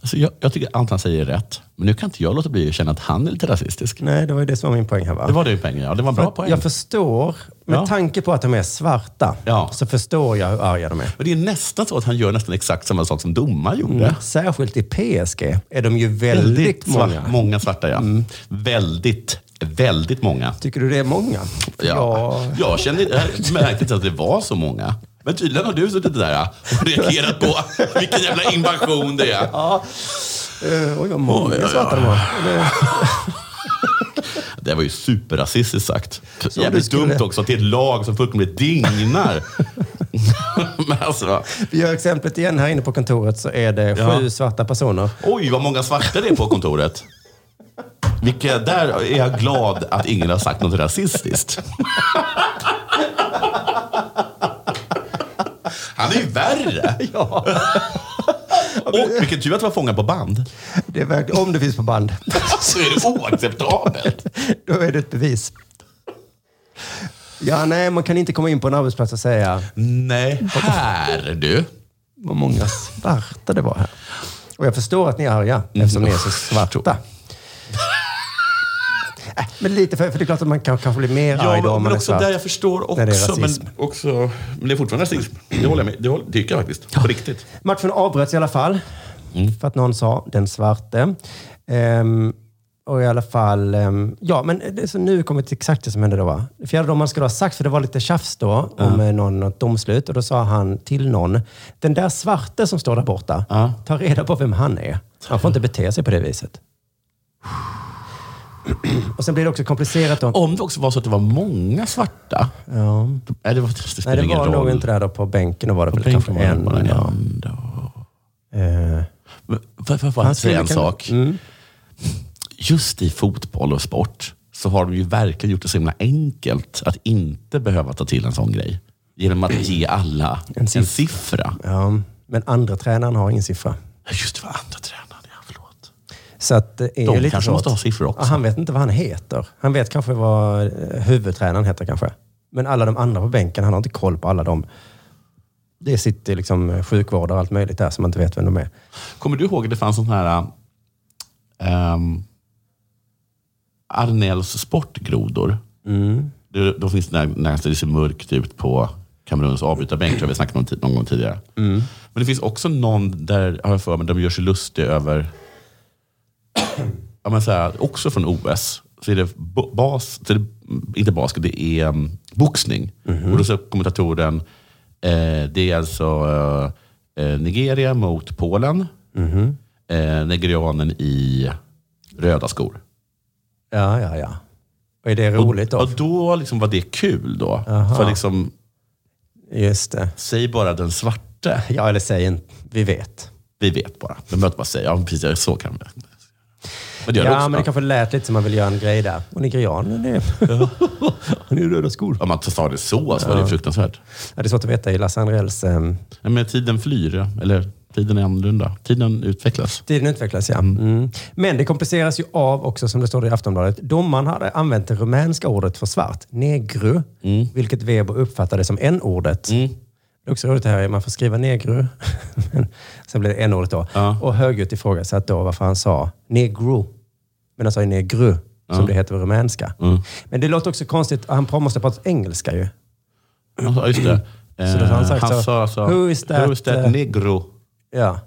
Speaker 7: Alltså jag, jag tycker allt han säger är rätt. Men nu kan inte jag låta bli att känna att han är lite rasistisk.
Speaker 8: Nej, det var ju det som var min poäng här va?
Speaker 7: Det var din poäng, ja. Det var en
Speaker 8: För
Speaker 7: bra
Speaker 8: att
Speaker 7: poäng.
Speaker 8: Jag förstår, med
Speaker 7: Ja.
Speaker 8: tanke på att de är svarta, så förstår jag hur arga de är.
Speaker 7: Och det är nästan så att han gör nästan exakt samma sak som domaren gjorde.
Speaker 8: Mm. Särskilt i PSG är de ju väldigt,
Speaker 7: svart-
Speaker 8: många. Mm.
Speaker 7: många svarta, ja. Väldigt, väldigt många.
Speaker 8: Tycker du det är många?
Speaker 7: Ja. Jag kände jag märkte inte att det var så många. Men tydligen har du suttit där och reagerat på vilken jävla invasion det är.
Speaker 8: Ja. Eh, oj, vad många svarta de var. Det-
Speaker 7: Det var ju superrasistiskt sagt.
Speaker 8: om
Speaker 7: Jävligt
Speaker 8: du skulle-
Speaker 7: dumt också till ett lag som fullkomligt dignar. Men alltså,
Speaker 8: Vi gör exemplet igen. Här inne på kontoret så är det
Speaker 7: Ja.
Speaker 8: sju svarta personer.
Speaker 7: oj vad många svarta det är på kontoret. Vilka, där är jag glad att ingen har sagt något rasistiskt. Han är ju värre.
Speaker 8: Ja.
Speaker 7: Och vilken tur att det var fångad på band.
Speaker 8: Det är verkligen, om det finns på band,
Speaker 7: Så är det oacceptabelt.
Speaker 8: då är det ett bevis. Ja, nej, man kan inte komma in på en arbetsplats och säga
Speaker 7: nej, här du.
Speaker 8: vad många svarta det var här. Och jag förstår att ni är arga
Speaker 7: Mm.
Speaker 8: eftersom ni är så svarta. Äh, Men lite, för, för det är klart att man kan, kanske blir mer
Speaker 7: Ja,
Speaker 8: arg då
Speaker 7: men,
Speaker 8: om
Speaker 7: men
Speaker 8: man är
Speaker 7: också
Speaker 8: svart.
Speaker 7: där jag förstår också.
Speaker 8: när det är rasism.
Speaker 7: men, också, men det är fortfarande rasism. Det håller jag med. Det håller, tycker jag faktiskt. På riktigt.
Speaker 8: Matchen avbröts i alla fall.
Speaker 7: Mm.
Speaker 8: För att någon sa den svarte. Ehm, och i alla fall, ehm, ja men det, så nu kommer det till exakt det som hände då. Va? Fjärde domaren skulle ha sagt, för det var lite tjafs då om eh, någon, något domslut. Och då sa han till någon, den där svarte som står där borta, ta reda på vem han är. Han får inte bete sig på det viset. Och sen blir det också komplicerat då.
Speaker 7: Om det också var så att det var många svarta.
Speaker 8: Ja.
Speaker 7: Nej, det, var, det spelar
Speaker 8: Nej, det
Speaker 7: ingen
Speaker 8: var
Speaker 7: roll.
Speaker 8: nog inte där då på bänken. Då var det väl kanske
Speaker 7: var det
Speaker 8: en.
Speaker 7: bara en
Speaker 8: ja. Eh,
Speaker 7: Får jag
Speaker 8: Han skulle
Speaker 7: bara säga en
Speaker 8: kunna- Mm.
Speaker 7: sak? Just i fotboll och sport så har de ju verkligen gjort det så himla enkelt att inte behöva ta till en sån grej. Genom att ge alla en, siffra.
Speaker 8: Ja, men andra tränaren har ingen siffra.
Speaker 7: Just det, var andra tränaren. Ja, förlåt.
Speaker 8: Så att det är
Speaker 7: De
Speaker 8: ju lite
Speaker 7: kanske
Speaker 8: svårt.
Speaker 7: måste ha siffror också.
Speaker 8: Ja, han vet inte vad han heter. Han vet kanske vad eh, huvudtränaren heter kanske. Men alla de andra på bänken, han har inte koll på alla dem. Det sitter liksom sjukvårdare och allt möjligt där som man inte vet vem de är.
Speaker 7: Kommer du ihåg att det fanns sån här um, Arnells sportgrodor? Det, de finns när, när det ser mörkt ut på Kameruns avbytarbänk, tror jag vi snackade om ti- någon gång tidigare. Men det finns också någon där, har jag för mig, de gör sig lustiga över, ja, men så här, också från OS, så är det bo- bas, så är det, inte basket, det är um, boxning.
Speaker 8: Mhm.
Speaker 7: Och då säger kommentatoren, eh, det är alltså eh, eh, Nigeria mot Polen,
Speaker 8: Mhm.
Speaker 7: eh, nigerianen i röda skor.
Speaker 8: Ja, ja, ja. Och är det roligt då?
Speaker 7: Och, och då liksom var det kul då.
Speaker 8: Aha.
Speaker 7: För liksom,
Speaker 8: Just det.
Speaker 7: säg bara den svarte.
Speaker 8: Ja, eller säg inte. Vi vet.
Speaker 7: Vi vet bara. Vi behöver inte bara säga, ja precis, ja, så kan vi. Men det gör
Speaker 8: ja,
Speaker 7: det också.
Speaker 8: men det kanske lät lite som man vill göra en grej där. Och nigerianen, det är... Han är ju röda skor.
Speaker 7: Om man sa det så, så var
Speaker 8: Ja.
Speaker 7: det fruktansvärt.
Speaker 8: Ja, det är svårt att veta i Lasse Andrells... ehm,
Speaker 7: Nej, men tiden flyr, ja. eller tiden är annorlunda. Tiden utvecklas.
Speaker 8: Tiden utvecklas, ja. Mm. Men det kompliceras ju av också, som det står i Aftonbladet, domaren hade använt det rumänska ordet för svart, negru,
Speaker 7: Mm.
Speaker 8: vilket Weber uppfattade som n-ordet. Det är också roligt det här, man får skriva negru, men sen blev det n-ordet då. Och högljutt ifrågasatt då varför han sa negru, men han sa ju negru, som det heter på rumänska.
Speaker 7: Mm.
Speaker 8: Men det låter också konstigt, han måste prata engelska ju.
Speaker 7: Ja, just det.
Speaker 8: Så då har han sagt
Speaker 7: han
Speaker 8: så,
Speaker 7: sa alltså,
Speaker 8: "Who is that,
Speaker 7: Who is that
Speaker 8: eh,
Speaker 7: negro?
Speaker 8: Ja.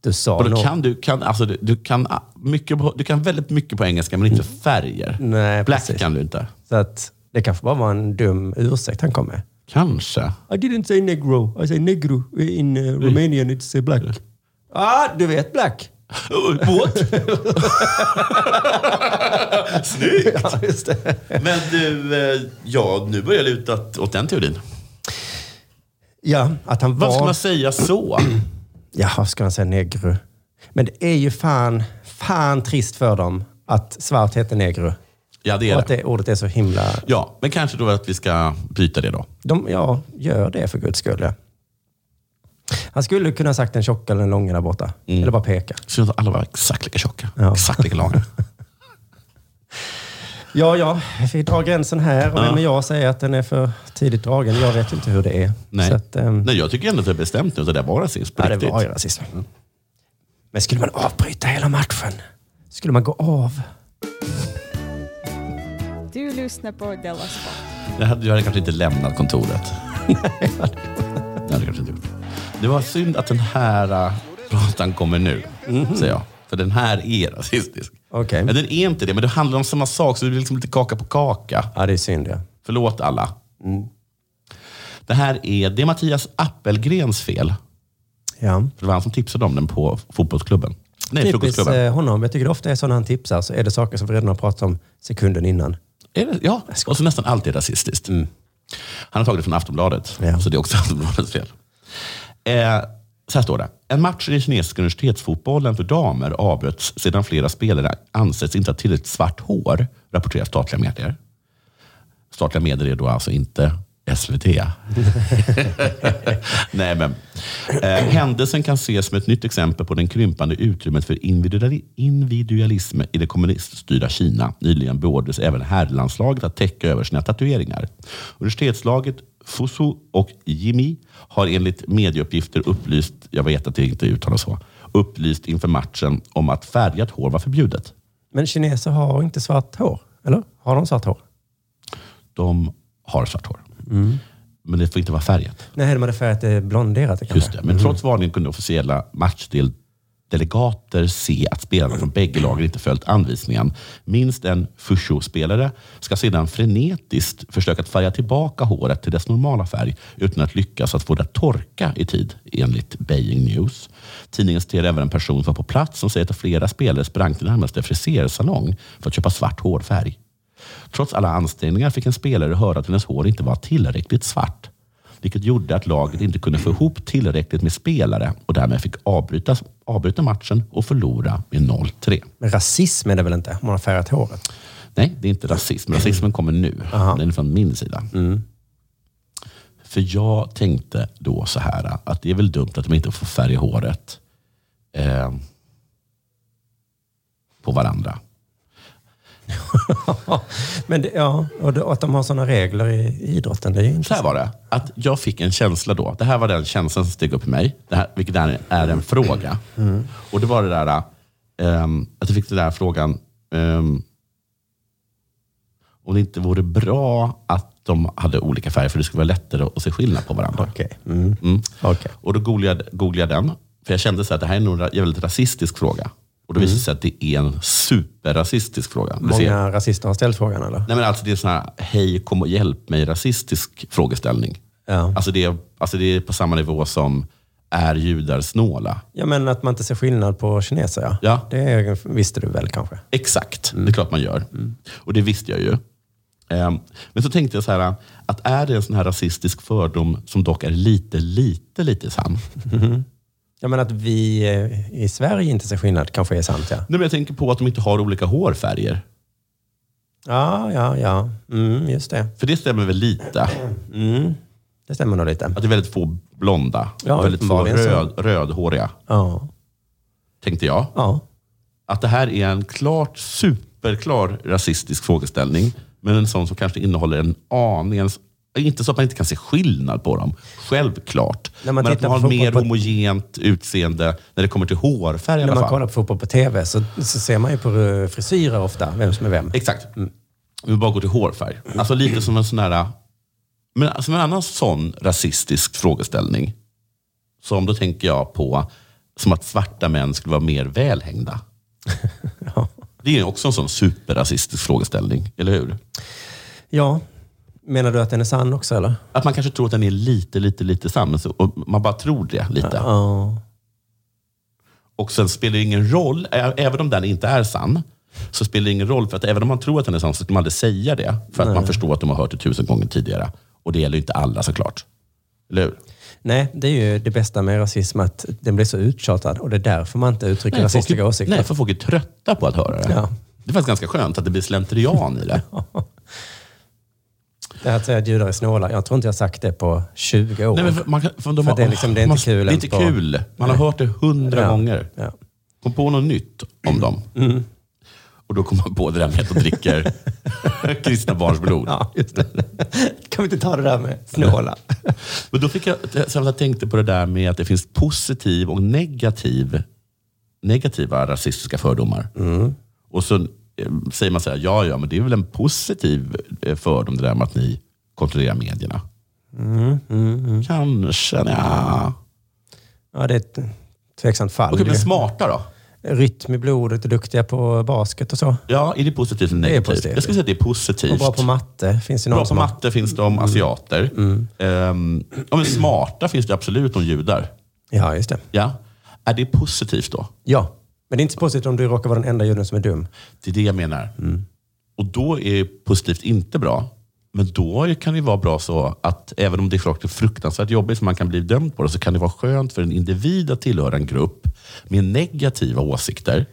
Speaker 8: Du sa
Speaker 7: Och då
Speaker 8: något.
Speaker 7: kan du, kan, alltså, du, du, kan ah, mycket, på- du kan väldigt mycket på engelska, men inte färger.
Speaker 8: Mm. Nej,
Speaker 7: Black kan du inte.
Speaker 8: Så att det kanske bara var en dum ursäkt han kom med.
Speaker 7: Kanske.
Speaker 8: I didn't say negro. I say negro in uh,
Speaker 7: Mm.
Speaker 8: Romanian it's uh, black. Ah, du vet black.
Speaker 7: Båt? Snyggt! Men du, eh, ja, nu börjar jag luta åt- åt den teorin.
Speaker 8: Ja, att han var...
Speaker 7: Varför ska man säga så?
Speaker 8: Jaha, ska man säga negro? Men det är ju fan, fan trist för dem att svart heter negro.
Speaker 7: Ja, det är
Speaker 8: Och att
Speaker 7: det.
Speaker 8: det ordet är så himla...
Speaker 7: Ja, men kanske då att vi ska bryta det då.
Speaker 8: De, ja, gör det för guds skull. Ja. Han skulle kunna ha sagt den tjocka eller den långa där borta.
Speaker 7: Mm.
Speaker 8: Eller bara peka.
Speaker 7: Så att alla var exakt lika tjocka. Exakt lika långa.
Speaker 8: Ja, ja, vi drar gränsen här. Och
Speaker 7: Ja.
Speaker 8: vem är jag att säga att den är för tidigt dragen? Jag vet ju inte hur det är.
Speaker 7: Nej.
Speaker 8: Så att, ehm,
Speaker 7: Nej, jag tycker ändå att det är bestämt nu att det där var rasism på
Speaker 8: Ja, det
Speaker 7: riktigt.
Speaker 8: var ju rasism. Men skulle man avbryta hela matchen? Skulle man gå av?
Speaker 12: Du lyssnar på Della Sport.
Speaker 7: Jag hade, jag hade kanske inte lämnat kontoret. det hade jag kanske inte gjort. Det var synd att den här uh, pratan kommer nu, säger jag. För den här är rasistisk.
Speaker 8: Mhm. Okej.
Speaker 7: Men den är inte det, men det handlar om samma sak, så det blir liksom lite kaka på kaka.
Speaker 8: Ja, det är synd. Ja.
Speaker 7: Förlåt alla.
Speaker 8: Mm.
Speaker 7: Det här är, det är Mattias Appelgrens fel.
Speaker 8: Ja.
Speaker 7: För det var han som tipsade om den på fotbollsklubben. Nej,
Speaker 8: Typiskt
Speaker 7: frukostklubben.
Speaker 8: eh, honom. Jag tycker det ofta är så när han tipsar så är det saker som vi redan har pratat om sekunden innan.
Speaker 7: Är det? Ja, och så nästan alltid rasistiskt. Han har tagit det från Aftonbladet, så det är också Aftonbladets fel. Eh, så här står det. En match i den kinesiska universitetsfotbollen för damer avbröts sedan flera spelare ansetts inte ha tillräckligt svart hår, rapporterar statliga medier. Statliga medier är då alltså inte SVT. Nej, men. Eh, händelsen kan ses som ett nytt exempel på den krympande utrymmet för individuali- individualism i det kommuniststyrda Kina. Nyligen beordrades även herrlandslaget att täcka över sina tatueringar. Universitetslaget Fusu och Jimmy har enligt medieuppgifter upplyst, jag vet att det inte uttalas så, upplyst inför matchen om att färgat hår var förbjudet.
Speaker 8: Men kineser har inte svart hår, eller? Har de svart hår?
Speaker 7: De har svart hår. Men det får inte vara färgat.
Speaker 8: Nej, de hade färgat det blonderat. kanske.
Speaker 7: Just det, men trots varningen kunde officiella matchdelegater se att spelarna från bägge lagen inte följt anvisningen. Minst en Fushu-spelare ska sedan frenetiskt försöka att färga tillbaka håret till dess normala färg utan att lyckas att få det att torka i tid, enligt Beijing News. Tidningen citerar även en person som var på plats som säger att flera spelare sprang till närmaste frisersalong för att köpa svart hårfärg. Trots alla ansträngningar fick en spelare höra att hennes hår inte var tillräckligt svart, vilket gjorde att laget inte kunde få ihop tillräckligt med spelare och därmed fick avbryta, avbryta matchen och förlora med 0-3.
Speaker 8: Men rasism är det väl inte, om man har färgat håret?
Speaker 7: Nej, det är inte rasism. Rasismen kommer nu. Den är från min sida. För jag tänkte då så här, att det är väl dumt att de inte får färga håret eh, på varandra.
Speaker 8: Men det, ja, och, det, och att de har sådana regler i, i idrotten, det är ju
Speaker 7: Så här
Speaker 8: intressant.
Speaker 7: var det, att jag fick en känsla då. Det här var den känslan som steg upp i mig, det här, vilket är, är en fråga.
Speaker 8: Mm.
Speaker 7: Och det var det där, ehm, att jag fick den där frågan, ehm, om det inte vore bra att de hade olika färger, för det skulle vara lättare att se skillnad på varandra.
Speaker 8: Okej. Mm.
Speaker 7: Mm.
Speaker 8: Okej.
Speaker 7: Och då googlade, googlade jag den, för jag kände så att det här är nog en ra- jävligt rasistisk fråga. Och då visade det sig att det är en superrasistisk fråga. Det ser-
Speaker 8: Många rasister har ställt frågan, eller?
Speaker 7: Nej, men alltså det är sån här, hej kom och hjälp mig rasistisk frågeställning.
Speaker 8: Ja.
Speaker 7: Alltså, det är, alltså det är på samma nivå som, är judar snåla?
Speaker 8: Ja, men att man inte ser skillnad på kineser, ja.
Speaker 7: Ja.
Speaker 8: Det är, visste du väl kanske?
Speaker 7: Exakt, det är klart man gör. Och det visste jag ju. Ehm, Men så tänkte jag så här, att är det en sån här rasistisk fördom som dock är lite, lite, lite sann?
Speaker 8: Ja, men att vi eh, i Sverige inte ser skillnad kanske är sant, ja.
Speaker 7: Nej, men jag tänker på att de inte har olika hårfärger.
Speaker 8: Ja, ja, ja. Mm, just det.
Speaker 7: För det stämmer väl lite?
Speaker 8: Mm, det stämmer nog lite.
Speaker 7: Att det är väldigt få blonda
Speaker 8: Ja,
Speaker 7: och väldigt få
Speaker 8: uppenbarligen så.
Speaker 7: röd, rödhåriga,
Speaker 8: Ja.
Speaker 7: tänkte jag.
Speaker 8: Ja.
Speaker 7: Att det här är en klart, superklar rasistisk frågeställning, men en sån som kanske innehåller en aning, en- inte så att man inte kan se skillnad på dem, självklart.
Speaker 8: När man
Speaker 7: men att
Speaker 8: tittar
Speaker 7: man har
Speaker 8: på
Speaker 7: mer
Speaker 8: fotboll-
Speaker 7: homogent utseende när det kommer till hårfärg i
Speaker 8: När
Speaker 7: alla
Speaker 8: man
Speaker 7: fall.
Speaker 8: kollar på fotboll på TV så, så ser man ju på eh, frisyrer ofta, vem som är vem. Mm.
Speaker 7: Exakt. Vi bara går till hårfärg. Alltså lite som en sån här... Men som en annan sån rasistisk frågeställning som då tänker jag på som att svarta män skulle vara mer välhängda. Det är ju också en sån superrasistisk frågeställning, eller hur?
Speaker 8: Ja. Menar du att den är sann också eller?
Speaker 7: Att man kanske tror att den är lite, lite, lite sann. men så- och Man bara tror det lite. Och sen spelar det ingen roll, ä- även om den inte är sann, så spelar det ingen roll. För att även om man tror att den är sann så skulle man aldrig säga det. För att
Speaker 8: Nej.
Speaker 7: man förstår att de har hört det tusen gånger tidigare. Och det gäller ju inte alla såklart. Eller hur?
Speaker 8: Nej, det är ju det bästa med rasism, att den blir så uttjatad och det är därför man inte uttrycker
Speaker 7: Nej, folk är-
Speaker 8: rasistiska åsikter.
Speaker 7: nej, för folk är trötta på att höra det.
Speaker 8: Ja.
Speaker 7: Det är faktiskt ganska skönt att det blir slentrian i det.
Speaker 8: Det här att säga att judar är snåla, jag tror inte jag har sagt det på 20 år.
Speaker 7: Nej, men för- man kan- för de har-
Speaker 8: det, är liksom, det är
Speaker 7: man-
Speaker 8: inte kul.
Speaker 7: det är
Speaker 8: ens
Speaker 7: inte kul. Man har hört det hundra gånger. Kom på något nytt om dem. Och då kom man på det där med att de dricker kristna barns blod.
Speaker 8: Ja, just det. Kan vi inte ta det där med snåla?
Speaker 7: Men då fick jag, sen jag tänkte på det där med att det finns positiv och negativ, negativa rasistiska fördomar.
Speaker 8: Mm.
Speaker 7: Och så eh, säger man så här, ja, ja, men det är väl en positiv eh, fördom det där med att ni kontrollerar medierna.
Speaker 8: Mm,
Speaker 7: Kanske, nja.
Speaker 8: Ja, det är ett tveksamt fall.
Speaker 7: Okej, men smarta då?
Speaker 8: Rytm i blodet och duktiga på basket och så.
Speaker 7: Ja, är det positivt eller
Speaker 8: Det är
Speaker 7: negativt?
Speaker 8: positivt.
Speaker 7: Jag skulle säga att det är positivt.
Speaker 8: Och bra på matte. Finns det någon
Speaker 7: Bra på
Speaker 8: som har-
Speaker 7: matte finns de asiater. Ehm, ja, men smarta finns det absolut de judar.
Speaker 8: Ja, just det.
Speaker 7: Ja. Är det positivt då?
Speaker 8: Ja, men det är inte så positivt om du råkar vara den enda juden som är dum.
Speaker 7: Det är det jag menar. Och då är positivt inte bra. Men då kan det vara bra så att även om det är klart det är fruktansvärt jobbigt som man kan bli dömd på det, så kan det vara skönt för en individ att tillhöra en grupp med negativa åsikter,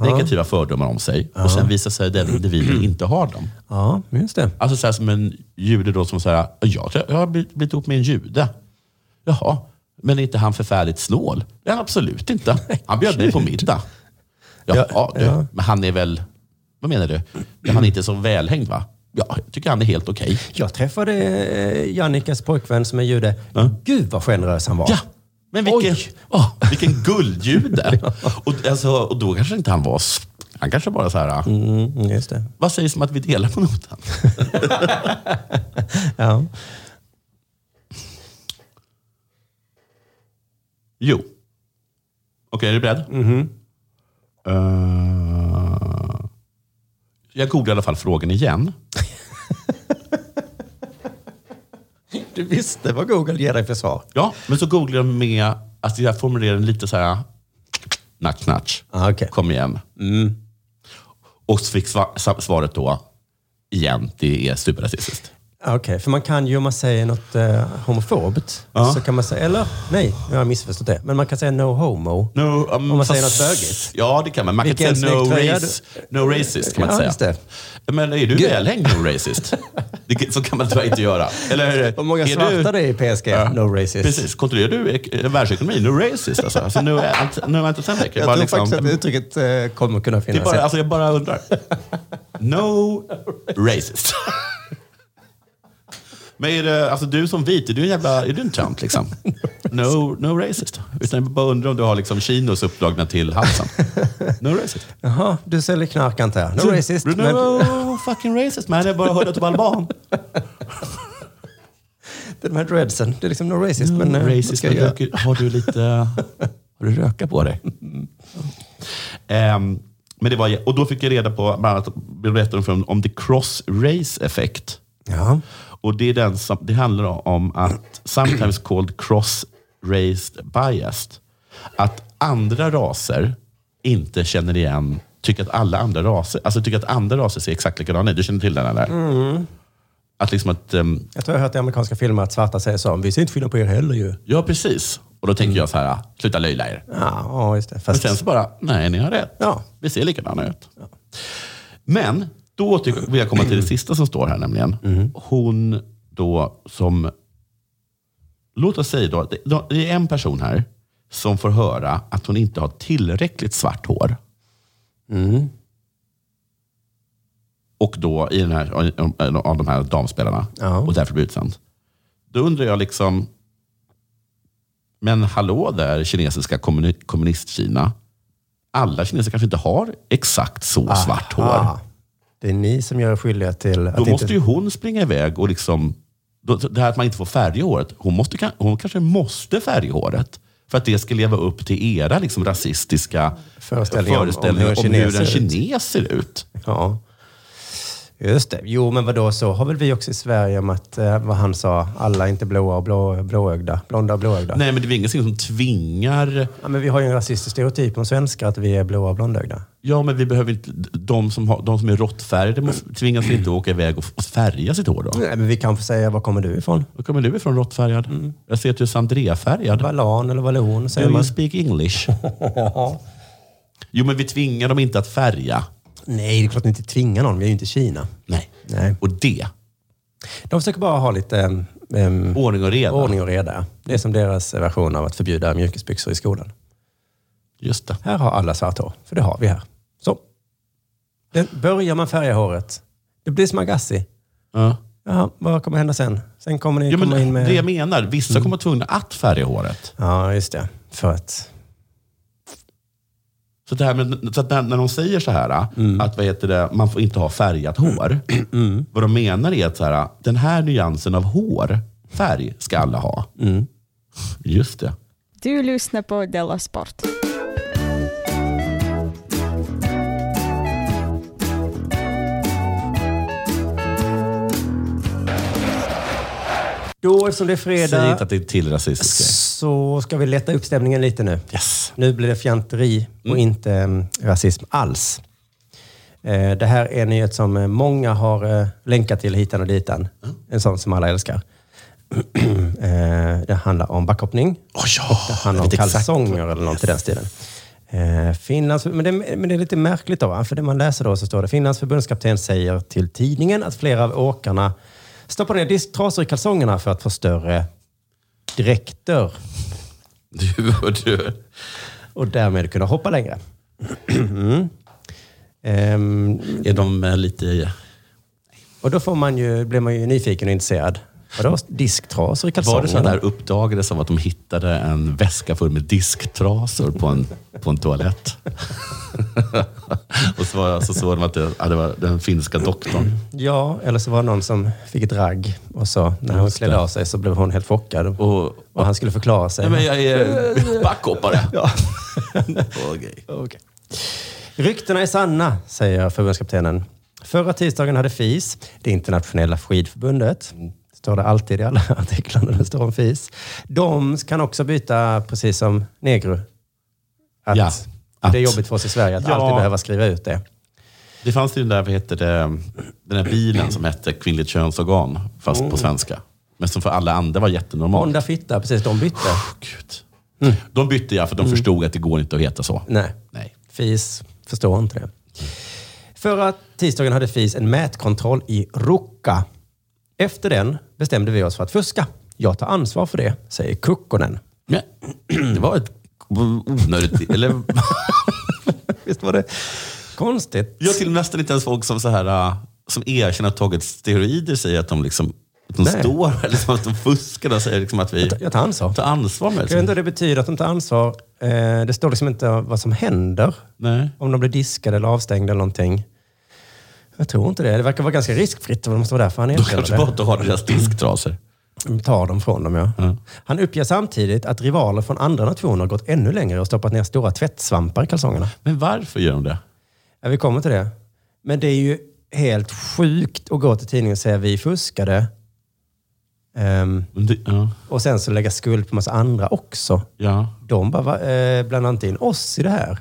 Speaker 7: negativa fördomar om sig och sen visar sig den individen inte har dem.
Speaker 8: Ja, just det.
Speaker 7: Alltså så här som en jude då som säger, jag, tror jag har blivit blivit ihop med en jude. Jaha, men är inte han förfärligt snål? Det är han absolut inte. Han bjöd mig på middag. Jaha, du, men han är väl, vad menar du? Ja, Han är inte så välhängd va? Ja, jag tycker han är helt okej.
Speaker 8: Jag träffade eh, Jannikas pojkvän som är jude. Gud vad generös han var.
Speaker 7: Ja, men vilken, åh, vilken guldjude. och, alltså, och då kanske inte han var, s- han kanske bara så här,
Speaker 8: Mm, just det.
Speaker 7: vad sägs om att vi delar på notan?
Speaker 8: Ja.
Speaker 7: Jo. Okej, är du beredd? Eh, jag googlar i alla fall frågan igen.
Speaker 8: Du visste vad Google ger dig för svar.
Speaker 7: Ja, men så googlar jag med, alltså jag formulerar den lite så här, natch, natch.
Speaker 8: Ah,
Speaker 7: Kom igen. Och så fick sva- sa- svaret då, igen, det är superrasistiskt.
Speaker 8: Ah, Okej, för man kan ju om man säger något eh, homofobt,
Speaker 7: Ja.
Speaker 8: så kan man säga, eller nej, jag har missförstått det, men man kan säga no homo.
Speaker 7: No, um,
Speaker 8: om man säger något
Speaker 7: fast-
Speaker 8: bögigt.
Speaker 7: Ja, det kan man. Man
Speaker 8: Vilken
Speaker 7: kan säga no,
Speaker 8: snygg tröja
Speaker 7: race, no racist. Kan man
Speaker 8: Ja,
Speaker 7: säga.
Speaker 8: just det.
Speaker 7: Men är du välhängd no racist? Det, kan- så kan man tyvärr inte göra. Eller,
Speaker 8: Hur många
Speaker 7: eh, är
Speaker 8: svarta det är i PSG?
Speaker 7: Ja.
Speaker 8: No racist.
Speaker 7: Precis. Kontrollerar du ek- eh, världsekonomin? No racist alltså. alltså no, ant, no antisemitic.
Speaker 8: Jag tror faktiskt att uttrycket eh, kommer kunna
Speaker 7: liksom- det är
Speaker 8: finnas.
Speaker 7: bara, alltså, jag bara undrar. No racist. Men är det, alltså du som vit, är du en jävla, är du en tönt liksom? No, no racist. Utan jag bara undrar om du har liksom chinos uppdragna till halsen. No racist.
Speaker 8: Jaha, du säljer knark antar jag. No racist.
Speaker 7: No
Speaker 8: Men
Speaker 7: fucking racist man. Jag bara hörde att du var alban.
Speaker 8: de här dreadsen, det är liksom no racist. men, eh, vad
Speaker 7: racist,
Speaker 8: ska jag
Speaker 7: men
Speaker 8: göra?
Speaker 7: röker- har du lite... Har du röka på dig? Ehm, men det var, och då fick jag reda på, bland annat berättade de om, om the cross-race effekt.
Speaker 8: Ja.
Speaker 7: Och det, är den som, det handlar om att, sometimes called cross-race biased, att andra raser inte känner igen, tycker att alla andra raser, alltså tycker att andra raser ser exakt likadana ut. Du känner till den eller?
Speaker 8: Mm.
Speaker 7: Att liksom att, ehm,
Speaker 8: Jag tror jag har hört i amerikanska filmer att svarta säger så. Vi ser inte skillnad på er heller ju.
Speaker 7: ja precis. Och då tänker jag så här, "Ah, sluta löjla er.
Speaker 8: Ja, ja, just det.
Speaker 7: Men
Speaker 8: Fast
Speaker 7: sen så bara, nej ni har rätt. Vi ser likadana ut. Men då tycker, vill jag komma till det sista som står här nämligen. Hon då som, låt oss säga då, att det- det är en person här som får höra att hon inte har tillräckligt svart hår. Och då i den här, en av de här damspelarna. Och därför blir utsänd. Då undrar jag liksom, men hallå där kinesiska kommuni- kommunist-Kina. Alla kineser kanske inte har exakt så svart hår.
Speaker 8: Ah, det är ni som gör er skyldiga till att
Speaker 7: Då måste
Speaker 8: inte...
Speaker 7: ju hon springa iväg och liksom Då, det här att man inte får färga håret. Hon, måste, hon kanske måste färga håret. För att det ska leva upp till era liksom, rasistiska
Speaker 8: Föreställningar
Speaker 7: föreställningar
Speaker 8: om-
Speaker 7: om,
Speaker 8: om hur en kines
Speaker 7: hur en
Speaker 8: ser ut.
Speaker 7: kines ser ut.
Speaker 8: Ja. Just det. Jo, men vadå, så har väl vi också i Sverige om att, eh, vad han sa, alla är inte blåa och blå, blåögda. Blonda och blåögda.
Speaker 7: Nej, men det är väl ingenting som tvingar...
Speaker 8: Ja, men vi har ju en rasistisk stereotyp om svenskar att vi är blåa och blondögda.
Speaker 7: Ja, men vi behöver inte, de, som har, de som är råttfärgade måste- tvingas inte åka iväg och, och färga sitt hår då.
Speaker 8: Nej, men vi kan få säga, var kommer du ifrån?
Speaker 7: Var kommer du ifrån råttfärgad? Jag ser att du är Sandrea-färgad.
Speaker 8: Valan eller valon Mm. säger
Speaker 7: Do
Speaker 8: man.
Speaker 7: you speak English? Jo, men vi tvingar dem inte att färga.
Speaker 8: Nej, det är klart att ni inte tvingar någon. Vi är ju inte i Kina.
Speaker 7: Nej.
Speaker 8: Nej.
Speaker 7: Och det?
Speaker 8: De försöker bara ha lite... ehm,
Speaker 7: ordning och reda.
Speaker 8: Ordning och reda. Det är som deras version av att förbjuda mjukisbyxor i skolan.
Speaker 7: Just det.
Speaker 8: Här har alla svart hår, för det har vi här. Så. Den, börjar man färga håret, det blir som Agassi.
Speaker 7: Ja.
Speaker 8: Jaha, vad kommer hända sen? Sen kommer ni
Speaker 7: Ja, men
Speaker 8: komma in med...
Speaker 7: Det jag menar, vissa
Speaker 8: Mm.
Speaker 7: kommer vara tvungna att färga håret.
Speaker 8: Ja, just det. För att...
Speaker 7: Så, det här med, så att när, när de säger så här, att vad heter det, man får inte ha färgat hår. Vad de menar är att så här, den här nyansen av hår, färg, ska alla ha. Just det.
Speaker 12: Du lyssnar på Della Sport.
Speaker 8: Då, eftersom det är
Speaker 7: Säg
Speaker 8: fredag,
Speaker 7: inte att det är till rasistiskt. grej.
Speaker 8: så ska vi lätta upp stämningen lite nu. Nu blir det fjanteri och inte um, rasism alls. Eh, det här är en nyhet som eh, många har eh, länkat till hitan och ditan.
Speaker 7: Mm.
Speaker 8: En sån som alla älskar. eh, det handlar om backhoppning. och det handlar om
Speaker 7: jag vet exakt
Speaker 8: kalsonger eller något i den stilen. Eh, Finlands, men, det, men det är lite märkligt då, va? för det man läser då så står det Finlands förbundskapten säger till tidningen att flera av åkarna stoppar ner disktrasor i kalsongerna för att få större dräkter
Speaker 7: Du och du.
Speaker 8: och därmed kunna hoppa längre. mm. Ehm,
Speaker 7: Är de eh, lite...
Speaker 8: och då får man ju, blir man ju nyfiken och intresserad. Vadå disktrasor i kalsongerna?
Speaker 7: Var det så att det här uppdagades av att de hittade en väska full med disktrasor på en, på en toalett? och så, var, så såg de att det, ja, det var den finska doktorn.
Speaker 8: Ja, eller så var det någon som fick ett ragg och så när hon
Speaker 7: Just
Speaker 8: klädde
Speaker 7: det.
Speaker 8: av sig så blev hon helt chockad. Och, han skulle förklara sig.
Speaker 7: Nej, men jag är backhoppare.
Speaker 8: Ja.
Speaker 7: Okej.
Speaker 8: Ryktena är sanna, säger förbundskaptenen. Förra tisdagen hade FIS, det internationella skidförbundet, står det alltid i alla artiklar när det står om FIS. De kan också byta, precis som negro. Att,
Speaker 7: Ja, att-
Speaker 8: Det är jobbigt för oss i Sverige att
Speaker 7: Ja.
Speaker 8: alltid behöva skriva ut det.
Speaker 7: Det fanns ju den där, vad heter det, den där bilen som hette kvinnligt könsorgan, fast
Speaker 8: Mm.
Speaker 7: på svenska. Men som för alla andra var jättenormalt.
Speaker 8: Onda fitta, precis, de bytte.
Speaker 7: Oh. De bytte jag för de förstod att det går inte att heta så.
Speaker 8: Mm. Nej.
Speaker 7: Nej.
Speaker 8: FIS förstår inte det. Förra tisdagen hade FIS en mätkontroll i Ruka. Efter den bestämde vi oss för att fuska. Jag tar ansvar för det, säger Kukkonen.
Speaker 7: Men, det var ett onödigt... Eller,
Speaker 8: Visst var det konstigt?
Speaker 7: jag till nästan inte ens folk som så här äh, som erkänner att tagit steroider säger att de liksom att de
Speaker 8: Nej.
Speaker 7: står eller som att de fuskar och säger liksom att vi
Speaker 8: Jag tar ansvar.
Speaker 7: tar ansvar med det.
Speaker 8: Jag vet inte vad det betyder att de tar ansvar. Eh, Det står liksom inte vad som händer.
Speaker 7: Nej.
Speaker 8: Om de blir diskade eller avstängda eller någonting. Jag tror inte det. Det verkar vara ganska riskfritt. Det måste vara därför han
Speaker 7: De
Speaker 8: erkänner
Speaker 7: kanske
Speaker 8: det.
Speaker 7: bara inte har deras disktrasor.
Speaker 8: De tar dem från dem, ja. Han uppger samtidigt att rivaler från andra nationer gått ännu längre och stoppat ner stora tvättsvampar i kalsongerna.
Speaker 7: Men varför gör de det?
Speaker 8: Ja, vi kommer till det. Men det är ju helt sjukt att gå till tidningen och säga vi fuskade. Ehm,
Speaker 7: Men det- Ja.
Speaker 8: och sen så lägga skuld på massa andra också.
Speaker 7: ja.
Speaker 8: De bara, va, eh, bland annat in oss i det här.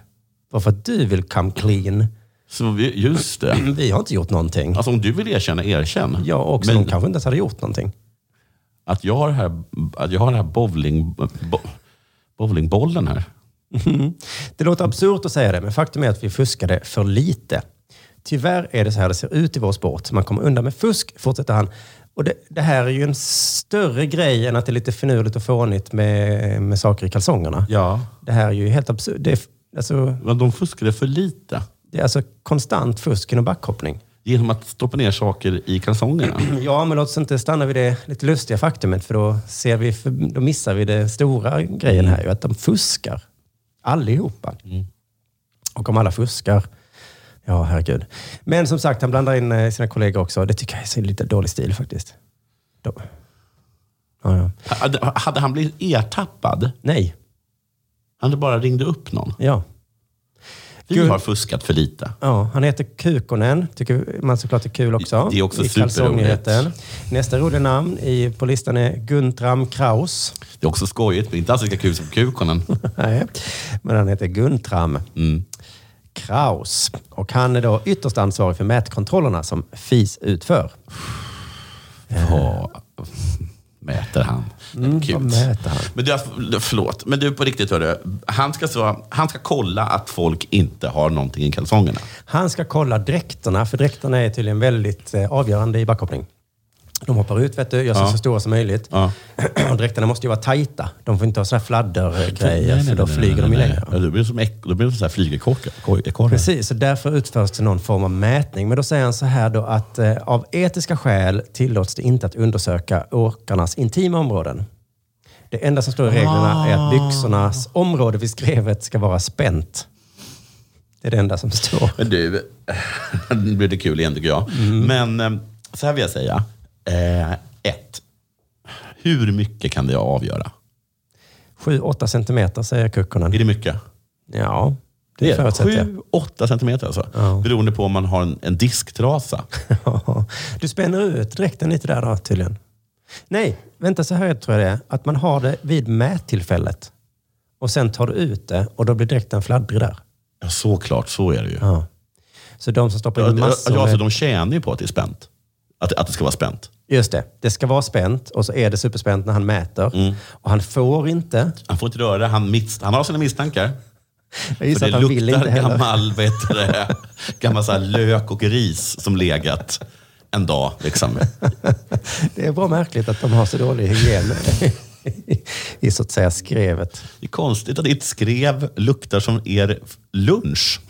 Speaker 8: Bara för att du vill come clean.
Speaker 7: Så vi, just det.
Speaker 8: Vi har inte gjort någonting.
Speaker 7: Alltså om du vill erkänna, erkänn.
Speaker 8: Ja, och
Speaker 7: Men-
Speaker 8: de kanske inte ens hade gjort någonting.
Speaker 7: Att jag har, det här, att jag har den här bowling, bo, bowlingbollen här.
Speaker 8: Mm. Det låter absurt att säga det, men faktum är att vi fuskade för lite. Tyvärr är det så här det ser ut i vår sport. Man kommer undan med fusk, fortsätter han. Och det, det här är ju en större grej än att det är lite finurligt och fånigt med, med saker i kalsongerna.
Speaker 7: Ja.
Speaker 8: Det här är ju helt absurt. Det är, f- alltså,
Speaker 7: Men de fuskade för lite.
Speaker 8: det är alltså konstant fusk inom backhoppning.
Speaker 7: Genom att stoppa ner saker i kalsongerna.
Speaker 8: Ja, men låt oss inte stanna vid det lite lustiga faktumet, för då, ser vi, för då missar vi det stora grejen här, ju, att de fuskar. Allihopa.
Speaker 7: Mm.
Speaker 8: Och om alla fuskar, ja herregud. Men som sagt, han blandar in eh, sina kollegor också. Det tycker jag är så lite dålig stil faktiskt. De,
Speaker 7: Hade- Hade han blivit ertappad?
Speaker 8: Nej.
Speaker 7: Han bara ringde upp någon?
Speaker 8: Ja.
Speaker 7: Vi
Speaker 8: Gud.
Speaker 7: har fuskat för lite.
Speaker 8: Ja, han heter Kukonen. Tycker man såklart är kul också.
Speaker 7: Det är också
Speaker 8: I
Speaker 7: superroligt.
Speaker 8: kalsongnyheten. Nästa roliga namn i, på listan är Guntram Kraus.
Speaker 7: Det är också skojigt, men inte alls lika kul som Kukonen.
Speaker 8: Nej, men han heter Guntram
Speaker 7: Mm.
Speaker 8: Kraus. Och han är då ytterst ansvarig för mätkontrollerna som FIS utför.
Speaker 7: Vad mäter han? Mm,
Speaker 8: vad mäter han?
Speaker 7: Men du, förlåt, men du på riktigt hörru. Han ska, så, han ska kolla att folk inte har någonting i kalsongerna.
Speaker 8: Han ska kolla dräkterna, för dräkterna är tydligen väldigt eh, avgörande i backhoppning. De hoppar ut, vet du, gör sig
Speaker 7: Ja.
Speaker 8: så stora som möjligt. Och dräkterna måste ju vara tajta. De får inte ha sådana här fladdergrejer, för då flyger de ju längre.
Speaker 7: Ja, då blir de som, ek- då blir de som flygekorrar.
Speaker 8: Precis, och därför utförs det någon form av mätning. Men då säger han så här då att eh, av etiska skäl tillåts det inte att undersöka åkarnas intima områden. Det enda som står i reglerna är att byxornas område vid skrevet ska vara spänt. Det är det enda som står.
Speaker 7: Men du, nu blir det kul igen tycker jag.
Speaker 8: Mm.
Speaker 7: Men eh, så här vill jag säga. Eh, ett, hur mycket kan det avgöra?
Speaker 8: 7-8 centimeter säger Kukkonen. Är
Speaker 7: det mycket?
Speaker 8: Ja, det, förutsätter jag.
Speaker 7: 7-8 centimeter alltså. Beroende på om man har en, en disktrasa.
Speaker 8: Du spänner ut dräkten lite där då tydligen. Nej, vänta så här tror jag det är. Att man har det vid mättillfället. Och sen tar du ut det och då blir dräkten fladdrig där.
Speaker 7: Ja, såklart. Så är det ju.
Speaker 8: Ja. Så de som stoppar in
Speaker 7: Ja,
Speaker 8: massor
Speaker 7: ja, så
Speaker 8: med...
Speaker 7: de tjänar ju på att det är spänt. Att, att det ska vara spänt.
Speaker 8: Just det. Det ska vara spänt och så är det superspänt när han mäter.
Speaker 7: Mm.
Speaker 8: Och han får inte...
Speaker 7: Han får inte röra, han, mis, han har sina misstankar.
Speaker 8: Jag gissar
Speaker 7: För
Speaker 8: att han vill inte heller.
Speaker 7: gammal, vad heter det, gammal så här lök och ris som legat en dag. Liksom.
Speaker 8: Det är bra märkligt att de har så dålig hygien i så att säga skrevet.
Speaker 7: Det är konstigt att ditt skrev luktar som er lunch.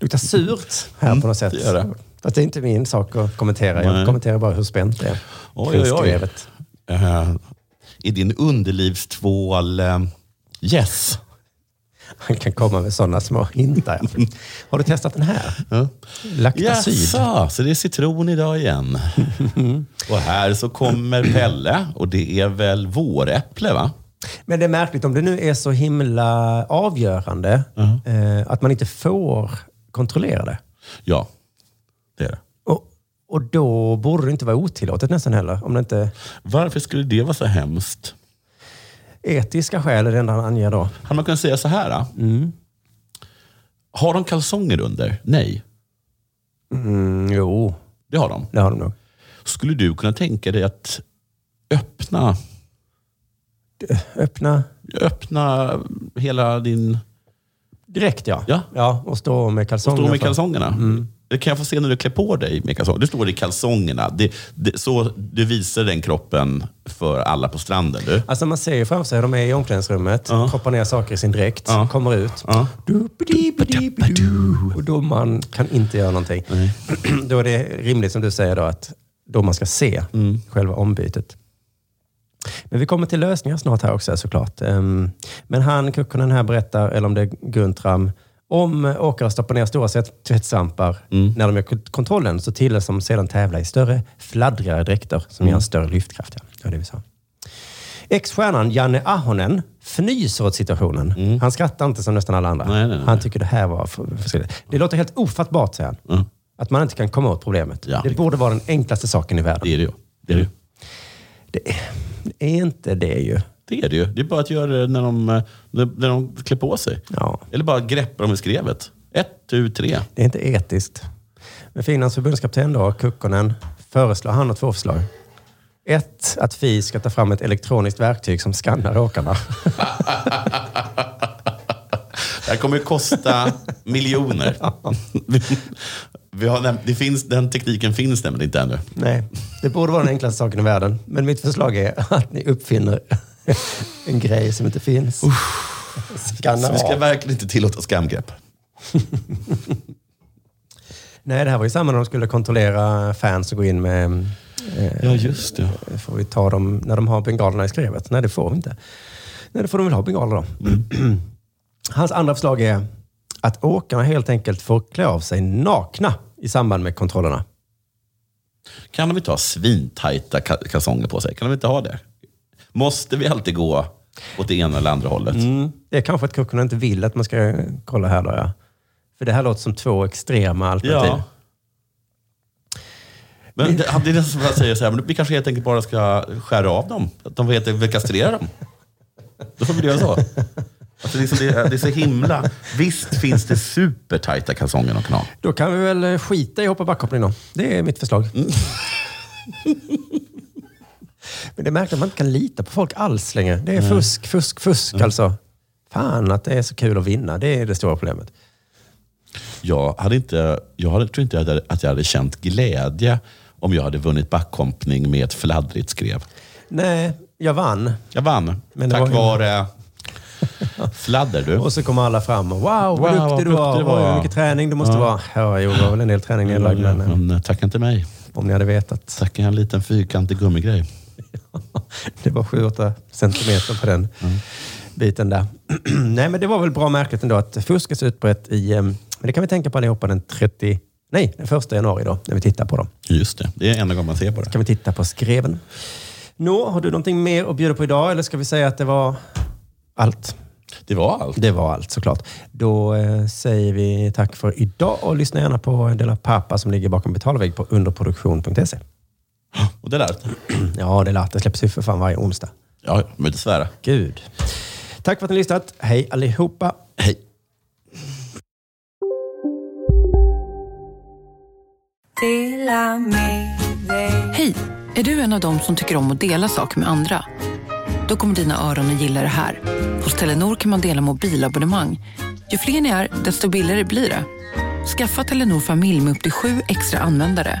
Speaker 8: luktar surt här på något sätt.
Speaker 7: Mm, det gör det.
Speaker 8: Fast det är inte min sak att kommentera. Jag
Speaker 7: Nej.
Speaker 8: kommenterar bara hur spänt det är.
Speaker 7: Oj,
Speaker 8: kring
Speaker 7: oj, oj.
Speaker 8: skrevet.
Speaker 7: Eh, är din underlivstvål eh, yes?
Speaker 8: Han kan komma med sådana små hintar. ja. Har du testat den här?
Speaker 7: Ja.
Speaker 8: Lactacid.
Speaker 7: Jaså, så det är citron idag igen. och här så kommer Pelle och det är väl våräpple va?
Speaker 8: Men det är märkligt, om det nu är så himla avgörande eh, att man inte får kontrollera det.
Speaker 7: Ja, det är det.
Speaker 8: Och, och då borde det inte vara otillåtet nästan heller. Om det inte...
Speaker 7: Varför skulle det vara så hemskt?
Speaker 8: Etiska skäl är det enda han anger då.
Speaker 7: Hade man kunnat säga så här? Då? Har de kalsonger under? Nej.
Speaker 8: Mm, jo.
Speaker 7: Det har de?
Speaker 8: Det har de nog.
Speaker 7: Skulle du kunna tänka dig att öppna,
Speaker 8: Öppna
Speaker 7: öppna hela din...
Speaker 8: direkt ja.
Speaker 7: Ja.
Speaker 8: ja och stå med
Speaker 7: Och
Speaker 8: kalsongerna.
Speaker 7: stå med
Speaker 8: för-
Speaker 7: kalsongerna? Det kan jag få se när du klär på dig med kalsonger. Du står i kalsongerna. Det, det, så, du visar den kroppen för alla på stranden. Du.
Speaker 8: Alltså man ser ju framför sig hur de är i omklädningsrummet, proppar ner saker i sin dräkt, kommer ut. Du-ba-di-ba-di-ba-du. Och domaren kan inte göra någonting. Då är det rimligt som du säger då att domaren ska se själva ombytet. Men vi kommer till lösningar snart här också såklart. Ehm, Men han, Kukkonen här berättar, eller om det är Guntram, om åkare stoppar ner stora sätt- tvättsvampar när de gör kont- kontrollen så tillåts de sedan tävla i större, fladdrigare dräkter som ger en större lyftkraft. Ja. Det var det vi sa. Ex-stjärnan Janne Ahonen fnyser åt situationen. Han skrattar inte som nästan alla andra. Han tycker det här var för, för skräckligt. Det låter helt ofattbart, säger han. Att man inte kan komma åt problemet. det borde vara den enklaste saken i världen.
Speaker 7: Det är det ju. Det är det ju.
Speaker 8: Det är inte det ju.
Speaker 7: Det är det ju. Det är bara att göra det när de, eh, när när de klär på sig. Eller bara greppa dem i skrevet. Ett, tu, tre.
Speaker 8: Det är inte etiskt. Men Finlands förbundskapten då, Kukkonen, föreslår han har två förslag. Ett, att FI ska ta fram ett elektroniskt verktyg som skannar åkarna.
Speaker 7: Det här kommer ju kosta miljoner. Vi har nämnt, det finns, den tekniken finns nämligen inte ännu.
Speaker 8: Nej, det borde vara den enklaste saken i världen. Men mitt förslag är att ni uppfinner en grej som inte finns. Skanna
Speaker 7: Så vi ska
Speaker 8: av.
Speaker 7: verkligen inte tillåta skamgrepp.
Speaker 8: Nej, det här var ju samma när de skulle kontrollera fans och gå in med... eh,
Speaker 7: Ja, just det.
Speaker 8: Får vi ta dem när de har bengalerna i skrevet? Nej, det får vi inte. Nej, då får de väl ha bengaler då. Hans andra förslag är att åkarna helt enkelt får klä av sig nakna i samband med kontrollerna.
Speaker 7: Kan de inte ha svintajta ka- kalsonger på sig? Kan de inte ha det? Måste vi alltid gå åt det ena eller andra hållet?
Speaker 8: Mm. Det är kanske att kocken inte vill att man ska kolla här då, ja. För det här låter som två extrema alternativ.
Speaker 7: Ja. Men det, det är det som jag säger så här, men vi kanske helt enkelt bara ska skära av dem. Att de vet att vi kastrerar dem. Då får vi göra så. Alltså det, är så det, är, det är så himla... Visst finns det supertajta kalsonger de kan ha.
Speaker 8: Då kan vi väl eh, skita i hoppa backhoppning då. Det är mitt förslag. Men det är märkligt att man inte kan lita på folk alls längre. Det är
Speaker 7: Nej.
Speaker 8: fusk, fusk, fusk
Speaker 7: Mm.
Speaker 8: alltså. Fan att det är så kul att vinna. Det är det stora problemet.
Speaker 7: Jag, hade inte, jag hade, tror inte jag hade, att jag hade känt glädje om jag hade vunnit backkompning med ett fladdrigt skrev.
Speaker 8: Nej, jag vann.
Speaker 7: Jag vann.
Speaker 8: Men det
Speaker 7: Tack
Speaker 8: var ju-
Speaker 7: vare fladder du.
Speaker 8: Och så kommer alla fram och wow, vad duktig du var. Oj, hur mycket träning det måste vara. Ja, Mm, jo, det var väl en del träning nedlagd.
Speaker 7: Ja,
Speaker 8: men- eh,
Speaker 7: men tacka inte mig.
Speaker 8: Om ni hade vetat.
Speaker 7: Tacka en liten fyrkantig gummigrej.
Speaker 8: Det var 7-8 centimeter på den biten där. nej, men det var väl bra märkligt ändå att fusk är så utbrett i... eh, Men det kan vi tänka på allihopa den 30... Nej, den första januari då, när vi tittar på dem.
Speaker 7: Just det, det är enda gången man ser på det.
Speaker 8: kan vi titta på skreven. Nå, har du någonting mer att bjuda på idag eller ska vi säga att det var allt?
Speaker 7: Det var allt.
Speaker 8: Det var allt såklart. Då eh, säger vi tack för idag och lyssna gärna på Della Pappa som ligger bakom betalvägg på underproduktion.se.
Speaker 7: Och det lät?
Speaker 8: E. Mm, Ja, det lät. Det släpps ju för fan varje onsdag.
Speaker 7: Ja, men dessvärre.
Speaker 8: Gud. Tack för att ni har lyssnat. Hej allihopa.
Speaker 7: Hej.
Speaker 13: Hej! Är du en av dem som tycker om att dela saker med andra? Då kommer dina öron att gilla det här. Hos Telenor kan man dela mobilabonnemang. Ju fler ni är, desto billigare blir det. Skaffa Telenor familj med upp till sju extra användare.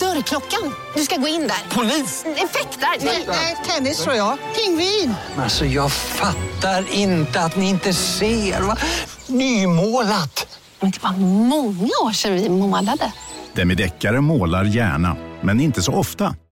Speaker 14: Dörrklockan. Du ska gå in där. Polis? Effektar? Nej, tennis tror jag. Pingvin.
Speaker 15: Alltså jag fattar inte att ni inte ser. Va? Nymålat!
Speaker 14: Men det var många år sedan vi målade.
Speaker 16: Demideckare målar gärna, men inte så ofta.